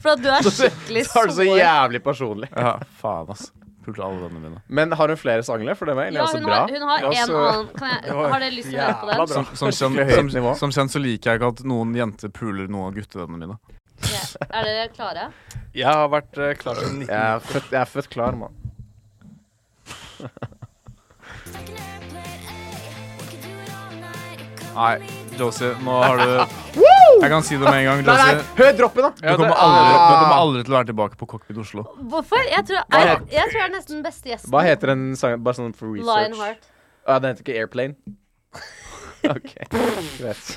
[SPEAKER 3] For at du er
[SPEAKER 6] Så
[SPEAKER 3] skikkelig
[SPEAKER 6] er det så
[SPEAKER 3] sår.
[SPEAKER 6] jævlig personlig.
[SPEAKER 2] Ja, faen, ass. Pulte alle vennene mine.
[SPEAKER 6] Men har hun flere sanger, for det var egentlig
[SPEAKER 3] Ja, hun har,
[SPEAKER 6] ganske bra.
[SPEAKER 3] hun har
[SPEAKER 6] Det var
[SPEAKER 3] en
[SPEAKER 6] så-
[SPEAKER 3] annen kan jeg, Har dere lyst til å høre på den?
[SPEAKER 5] jævla
[SPEAKER 2] Som, som, kjent,
[SPEAKER 6] Skikkelig høyt
[SPEAKER 2] som,
[SPEAKER 6] nivå.
[SPEAKER 2] som kjent så liker jeg ikke at noen jenter puler noen av guttevennene mine.
[SPEAKER 3] Ok, Er dere klare?
[SPEAKER 5] Jeg har vært eh, klar siden 19...
[SPEAKER 6] Jeg er født, jeg er født klar, mann.
[SPEAKER 2] Nei, Josie, nå har du Jeg kan si det med en gang,
[SPEAKER 6] Nei, nei,
[SPEAKER 2] Josie.
[SPEAKER 6] hør droppen, da!
[SPEAKER 2] Du kommer aldri, du kommer aldri til å være tilbake på Cockpit Oslo.
[SPEAKER 3] Hvorfor? Jeg tror
[SPEAKER 6] Hva
[SPEAKER 3] jeg,
[SPEAKER 6] het-
[SPEAKER 3] jeg tror jeg er nesten den beste gjesten.
[SPEAKER 6] Hva heter den sangen? Bare sånn for research.
[SPEAKER 3] Lionheart.
[SPEAKER 6] Ja, den heter ikke Airplane. OK, greit.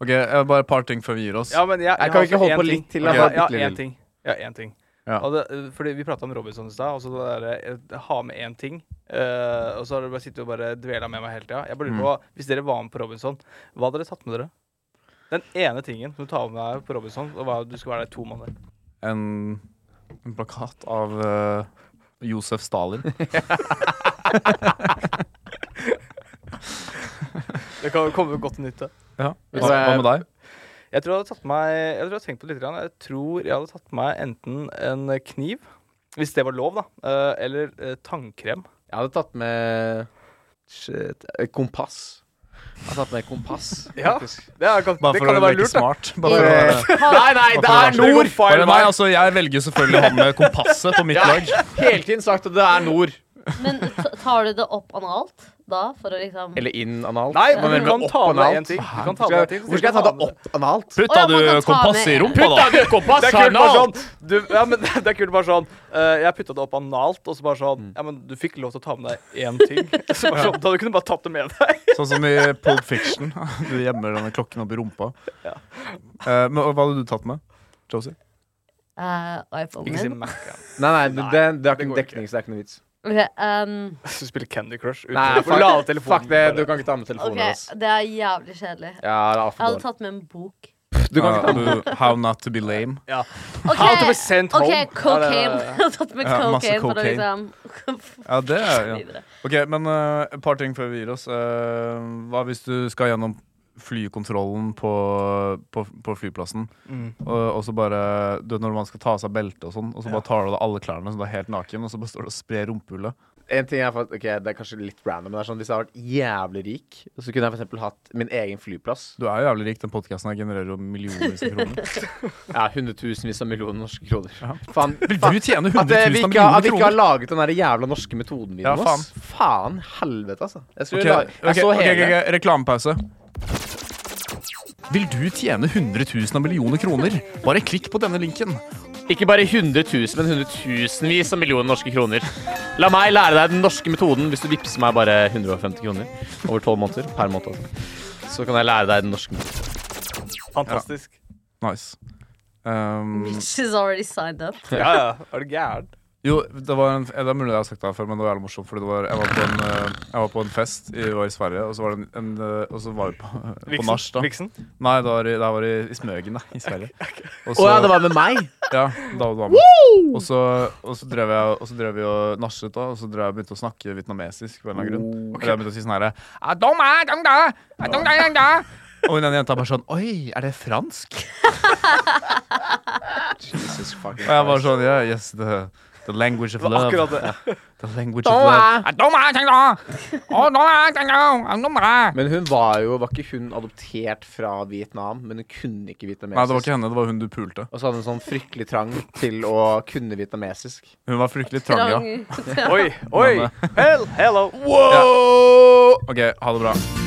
[SPEAKER 2] Ok, eh, Bare et par ting før vi gir oss.
[SPEAKER 5] Ja, men jeg,
[SPEAKER 6] kan ikke
[SPEAKER 5] har
[SPEAKER 6] holde
[SPEAKER 5] en
[SPEAKER 6] på
[SPEAKER 5] ting.
[SPEAKER 6] litt til,
[SPEAKER 2] jeg
[SPEAKER 5] Jeg har
[SPEAKER 6] har
[SPEAKER 5] jeg
[SPEAKER 6] bitte
[SPEAKER 5] har
[SPEAKER 6] litt.
[SPEAKER 5] én ting. Jeg har én ting.
[SPEAKER 2] Ja.
[SPEAKER 5] Og det, eh, fordi vi prata om Robinson i stad, og så det derre eh, ha med én ting. eh, og så har dere bare sittet og bare dvela med meg hele tida. Jeg bare lurer på, Hvis dere var med på Robinson, hva hadde dere tatt med dere? Den ene tingen som du tar med deg på Robinson, og hva- du skal være der i to måneder.
[SPEAKER 2] En, en plakat av eh, Josef Stalin.
[SPEAKER 5] Det kan jo komme godt til nytte.
[SPEAKER 2] Ja. Hva, hva med deg?
[SPEAKER 5] Jeg tror jeg hadde tatt meg Jeg tror jeg hadde tenkt på det litt. grann. Jeg tror jeg hadde tatt meg enten en kniv Hvis det var lov, da. Eh, eller eh, tannkrem.
[SPEAKER 6] Jeg hadde tatt med shit, eh, kompass. Jeg hadde tatt med kompass.
[SPEAKER 5] Ja, det, er, kan,
[SPEAKER 2] Bare
[SPEAKER 5] det
[SPEAKER 2] for
[SPEAKER 5] kan
[SPEAKER 2] å
[SPEAKER 5] jo være
[SPEAKER 2] virke
[SPEAKER 5] lurt, da.
[SPEAKER 2] smart. Bare for å
[SPEAKER 6] Nei, nei, det er nord!
[SPEAKER 5] Feil
[SPEAKER 2] Bare nei,
[SPEAKER 5] vei.
[SPEAKER 2] altså, jeg velger selvfølgelig han med kompasset på mitt lag.
[SPEAKER 6] Hele tiden sagt at det er nord.
[SPEAKER 3] Men t- tar du det opp analt da, for å liksom
[SPEAKER 6] Eller inn analt.
[SPEAKER 5] Nei,
[SPEAKER 6] Hva
[SPEAKER 5] men du
[SPEAKER 6] mener
[SPEAKER 5] kan
[SPEAKER 6] opp
[SPEAKER 5] ta med
[SPEAKER 6] analt?
[SPEAKER 5] en ting. Du kan ta med en ting.
[SPEAKER 6] Hvor skal jeg ta det opp analt?
[SPEAKER 2] Putta
[SPEAKER 3] Å, ja,
[SPEAKER 2] du
[SPEAKER 3] man kan ta
[SPEAKER 2] kompass
[SPEAKER 3] med-
[SPEAKER 2] i rumpa, da?
[SPEAKER 6] du kompass
[SPEAKER 5] Det er kult bare sånn du, ja, men Det er kult bare sånn eh, Jeg putta det opp analt, og så bare sånn Ja, men du fikk lov til å ta med deg én ting. Så bare sånn, da du kunne bare tatt det med deg.
[SPEAKER 2] Sånn som i Pulp Fiction. Du gjemmer denne klokken opp i rumpa. Eh, men og Hva hadde du tatt med? Josie?
[SPEAKER 3] eh, iPhone
[SPEAKER 5] Ikke si
[SPEAKER 3] min?
[SPEAKER 5] Mac. ja.
[SPEAKER 6] Nei, nei, det, det, det er ikke
[SPEAKER 5] går
[SPEAKER 6] noen dekning, så det er ikke noe vits.
[SPEAKER 3] Ok, ehm,
[SPEAKER 5] Så spiller Candy Crush uten
[SPEAKER 6] Nei,
[SPEAKER 5] å
[SPEAKER 6] fuck,
[SPEAKER 5] lade telefonen.
[SPEAKER 6] fuck det, du kan ikke ta med
[SPEAKER 3] ok,
[SPEAKER 6] telefonen hans.
[SPEAKER 3] det er jævlig kjedelig.
[SPEAKER 6] Ja, det er
[SPEAKER 3] Jeg hadde
[SPEAKER 6] altfor dårlig.
[SPEAKER 3] tatt med en bok.
[SPEAKER 6] Du kan ikke ta med
[SPEAKER 2] Ah, du- How not to be lame.
[SPEAKER 3] Ok,
[SPEAKER 5] How to be sent
[SPEAKER 3] ok,
[SPEAKER 5] home.
[SPEAKER 3] cocaine.
[SPEAKER 5] Ja, det-
[SPEAKER 3] Jeg hadde tatt med
[SPEAKER 2] Ja, masse
[SPEAKER 3] cocaine for å
[SPEAKER 2] cocaine.
[SPEAKER 3] liksom
[SPEAKER 2] Ja, det er, ja.
[SPEAKER 3] videre.
[SPEAKER 2] Ok, men eh, et par ting før vi gir oss. Eh, hva hvis du skal gjennom flykontrollen på, på, på flyplassen,
[SPEAKER 6] Mm.
[SPEAKER 2] og, og så bare Du vet når man skal ta av seg beltet og sånn, og så bare tar du av deg alle klærne, så du er helt naken, og så bare står du og sprer rumpehullet.
[SPEAKER 6] En ting er for, ok, Det er kanskje litt random, men det er sånn hvis jeg hadde vært jævlig rik, så kunne jeg for eksempel hatt min egen flyplass.
[SPEAKER 2] Du er jo jævlig rik, den podkasten her genererer jo millioner av kroner.
[SPEAKER 6] Ja, hundretusenvis av millioner norske kroner. Faen,
[SPEAKER 2] Vil
[SPEAKER 6] faen.
[SPEAKER 2] du tjene
[SPEAKER 6] At
[SPEAKER 2] 100
[SPEAKER 6] eh,
[SPEAKER 2] 000
[SPEAKER 6] vi
[SPEAKER 2] av
[SPEAKER 6] ikke, har- at
[SPEAKER 2] millioner
[SPEAKER 6] vi ikke har
[SPEAKER 2] kroner?
[SPEAKER 6] laget den der jævla norske metoden
[SPEAKER 2] Ja,
[SPEAKER 6] videoen ass. Faen helvete, altså. Jeg, skulle
[SPEAKER 2] Ok,
[SPEAKER 6] la-
[SPEAKER 2] ok,
[SPEAKER 6] jeg så
[SPEAKER 2] ok,
[SPEAKER 6] hele.
[SPEAKER 2] ok, ok, Reklamepause. Vil du tjene 100 000 av millioner kroner? Bare klikk på denne linken.
[SPEAKER 6] Ikke bare 100 000, men hundretusenvis av millioner norske kroner. La meg lære deg den norske metoden hvis du vippser meg bare 150 kroner over 12 måneder. per måned. Altså. Så kan jeg lære deg den norske metoden.
[SPEAKER 5] Fantastisk.
[SPEAKER 2] Nice. Um,
[SPEAKER 3] She's already signed up.
[SPEAKER 5] Ja, ja. Er du gæren?
[SPEAKER 2] Jo, det var en, det er mulig jeg har sagt det her før, men det var jævlig morsomt. Fordi det var, jeg, var på en, eh, jeg var på en fest i, var i Sverige, og så var, det en, en, eh, og så var vi på, på nach. da.
[SPEAKER 5] Viksen?
[SPEAKER 2] Nei, det var, i- det her var i, i Smøgen, da, i Sverige. Og
[SPEAKER 6] Å ja, det var med meg?
[SPEAKER 2] ja, da var det med. Og så, og så drev jeg og så drev vi og nachet, da, og så drev jeg begynte å snakke vietnamesisk. på en eller annen grunn. Eller jeg begynte å si sånn herre «Ah, dong, ah, dong, da! Ah, dong, da, dong, da!» Og den ene jenta bare sånn Oi, er det fransk?
[SPEAKER 6] Jesus fucking
[SPEAKER 2] Og jeg bare sånn Ja, yes, the, the language of
[SPEAKER 5] Det var
[SPEAKER 2] love.
[SPEAKER 5] akkurat det.
[SPEAKER 2] The language of love. Ah, dong, ah, dong, da! Å, dong, ah, dong, da! Ah, dong, da!
[SPEAKER 6] Men hun var jo Var ikke hun adoptert fra Vietnam, men hun kunne ikke vietnamesisk?
[SPEAKER 2] Nei, det var ikke henne, det var hun du pulte.
[SPEAKER 6] Og så hadde hun sånn fryktelig trang til å kunne vietnamesisk.
[SPEAKER 2] Hun var fryktelig trang, ja.
[SPEAKER 3] Trang-
[SPEAKER 5] Oi, oi. Hell, hello.
[SPEAKER 2] Wow! Ok, ha det bra.